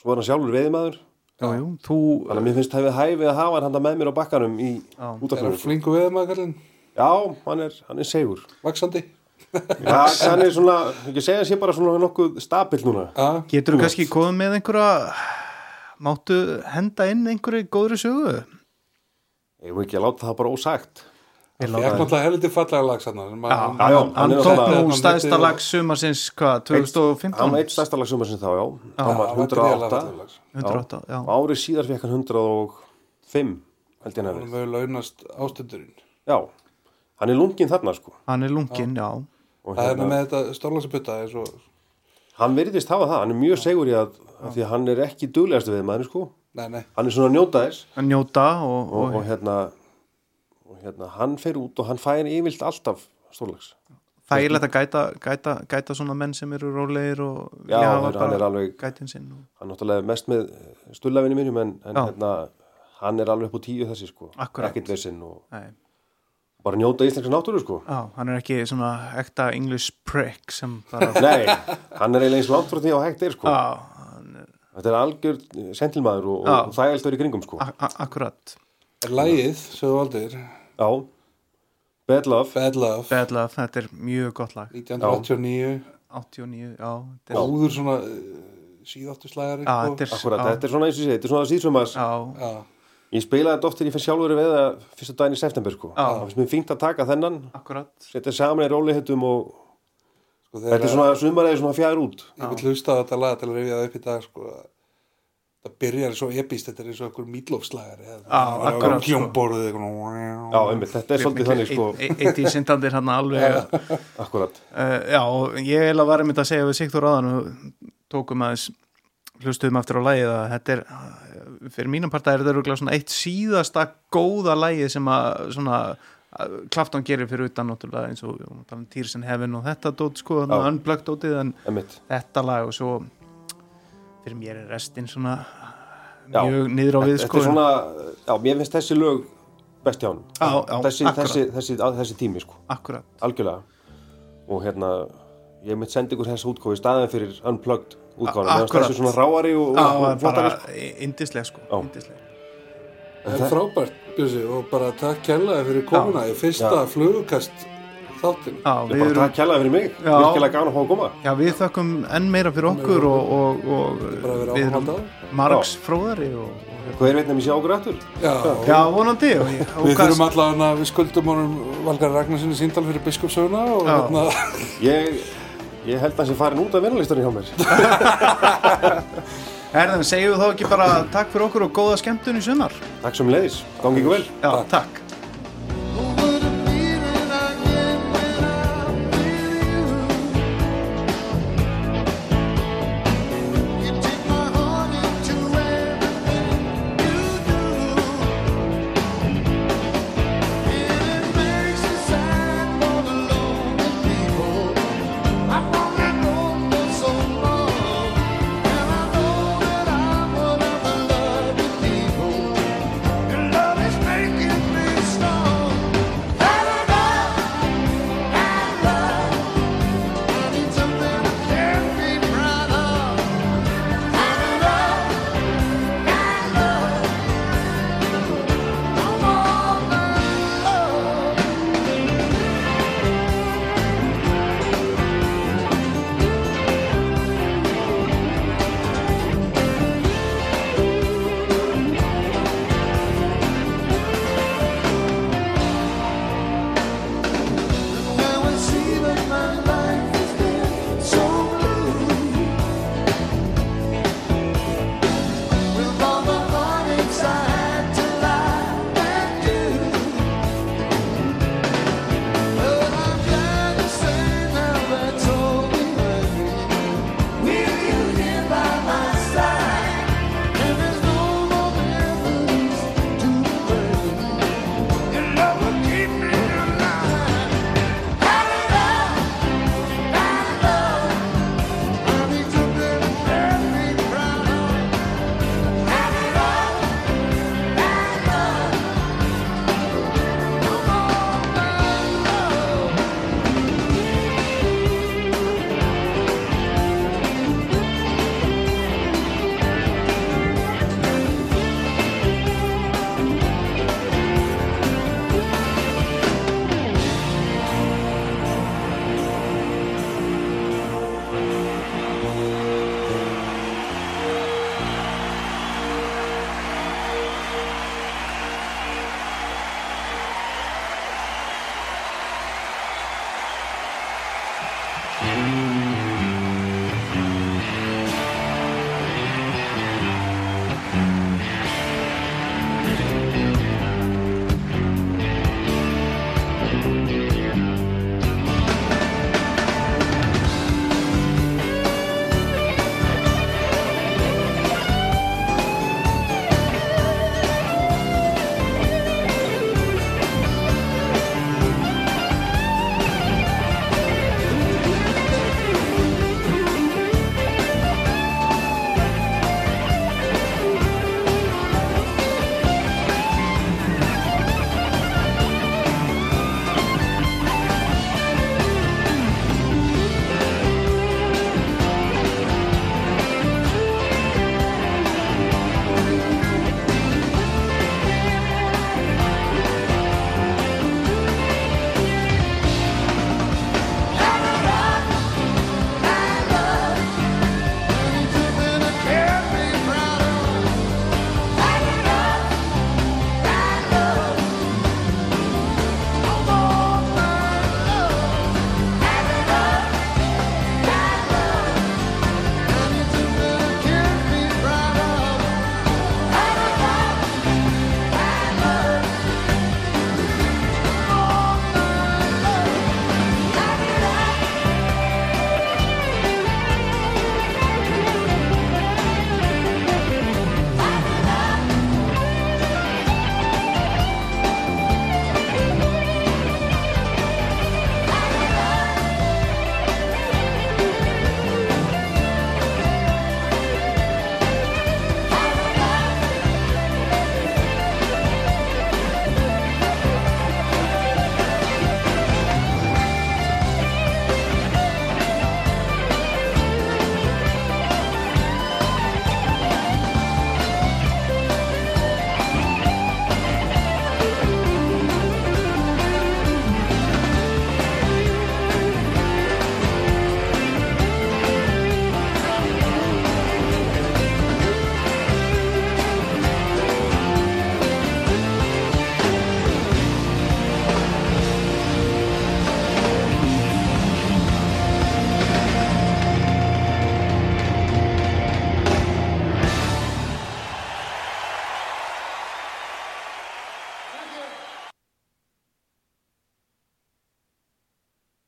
svo er hann sjálfur veiðimaður
Já, jú, þú,
þannig að mér finnst hefði hæfið að hafa hann handa með mér á bakkanum í
Er hann
útafjörnum
flingu við maður kallinn?
já, hann er, hann er segur
Vaksandi?
já, hann er svona, ekki segja sér bara svona nokkuð stabilt núna
Já.
getur þú kannski komið með einhverja Máttu henda inn einhverju góðri sögu?
ég vil ekki að láta það bara ósagt
Ég
Ég er
láta-
náttúrulega helviti fallega lag sann. Já,
Já, já, hann
Hann
er
tók
náttúrulega-
nú stæðsta lag sumarsins, hvað,
hann var
2015?
eitt stærsta lag sumarsins þá, já hann
Já,
var
hann var gríðarlega
108
fallegur lag.
108, já.
og árið síðar fekk hann 105 held ég hann
Hann
hefði
mögur launast ástundurinn.
já, hann er lungin þarna sko
Hann er lungin, já
og
Það er nú
hérna,
með þetta stórlagsbutta eins og...
hann virðist hafa það, hann er mjög segur í að að því að hann er ekki duglegast við maður sko
Nei, nei.
hann er svona að njóta þess
Að njóta og,
og,
og
og, hérna, og hérna hann fer út og hann fær yfirlt alltaf stórlags
það er leitt að gæta, gæta, gæta svona menn sem eru rólegir og vilja
Já, hann
hafa
er- hann er alveg-
gætin sinn og...
hann náttúrulega er mest með stullafinu mínum en, en
Já.
hérna, hann er alveg upp á tíu þessi sko
Akkúrat.
ekkert vesinn og
Nei,
bara njóta íslenska náttúru sko
Já, hann er ekki svona ekta English prick sem [laughs] bara
nei, hann er eiginlega eins langt frá því að hægt er sko
Já, hann er
þetta er algjör eh, sentilmaður og,
Já.
og þægælt verið í kringum sko
a- a- akkurat
Er lagið, sögðu aldir,
já, bad love
Bad Love,
Bad Love, þetta er mjög gott lag
1989.
89, já, þetta er,
Óður svona eh, síðáttu slagari.
já, þetta er
akkurat,
já,
þetta er svona eins og sé, þetta er svona síðsumars
já,
Já,
ég spilaði þetta oft þegar ég finn sjálfur við það fyrsta daginn í september sko
Já.
það finnst mér fínt að taka þennan
akkurat
setja saman í rólihettum og
sko
þetta
þegar
er svona sumarið svona fjær út
ég vil hlusta á þetta lag til að rifja það upp í dag, sko. Það byrjar svo epist, þetta er eins og einhver mítlófslagari.
akkurat, sko.
Hljómborðið,
já,
eitthvað.
einmitt, þetta er svolítið þannig sko
Eitt í sindandir hann alveg
akkurat,
Uh, já, og ég heila var einmitt að segja við Sigþór áðan og tókum aðeins hlustuðum aftur á lagið að þetta er eh, fyrir mínum parta er þetta örugglega svona eitt síðasta góða lagið sem að svona að Clapton gerir fyrir utan náttúrulega eins og við vorum að tala um Tears in Heaven og þetta dót sko, þannig að unplugged dótið en
einmitt
þetta lag og svo fyrir mér er restinn svona
Já.
mjög niður á við
þetta
sko
er svona, já, mér finnst þessi lög best hjá hann
Já, já,
þessi,
akkurat.
þessi, þessi, að- þessi tími sko
akkurat,
algjörlega og hérna, ég mitt sendi ykkur þessi útgáfi staðan fyrir unplugged
A-
útgáfi mér finnst
akkurat.
þessi svona ráari og,
já,
og, og flottari
bara indislega sko
sko. Já.
indislega.
Það er frábært, Bjössi, og bara takk kærlega fyrir komuna í fyrsta flugukast þáttin.
Já,
Ég
við
bara
erum,
takk kjærlega fyrir mig,
Já.
virkilega gana að fá að koma.
já, við þökkum enn meira fyrir okkur og, og, og
bara að vera
við
áfram
erum
á.
margs fróðari og,
Hver veit nefnir sjá okkur aftur?
Já,
já, vonandi og, og,
við
kannski-
þurfum allavega að við skuldum honum Valgar Ragnarssoni síndal fyrir biskupsöguna og
Já.
hérna,
Ég, ég held að hans ég farin út af vinnulistanum hjá mér.
[laughs] Herðan, segjum við þá ekki bara takk fyrir okkur og góða skemmtun í sumar
Takk sem leiðis, gangi ykkur vel.
Já, takk.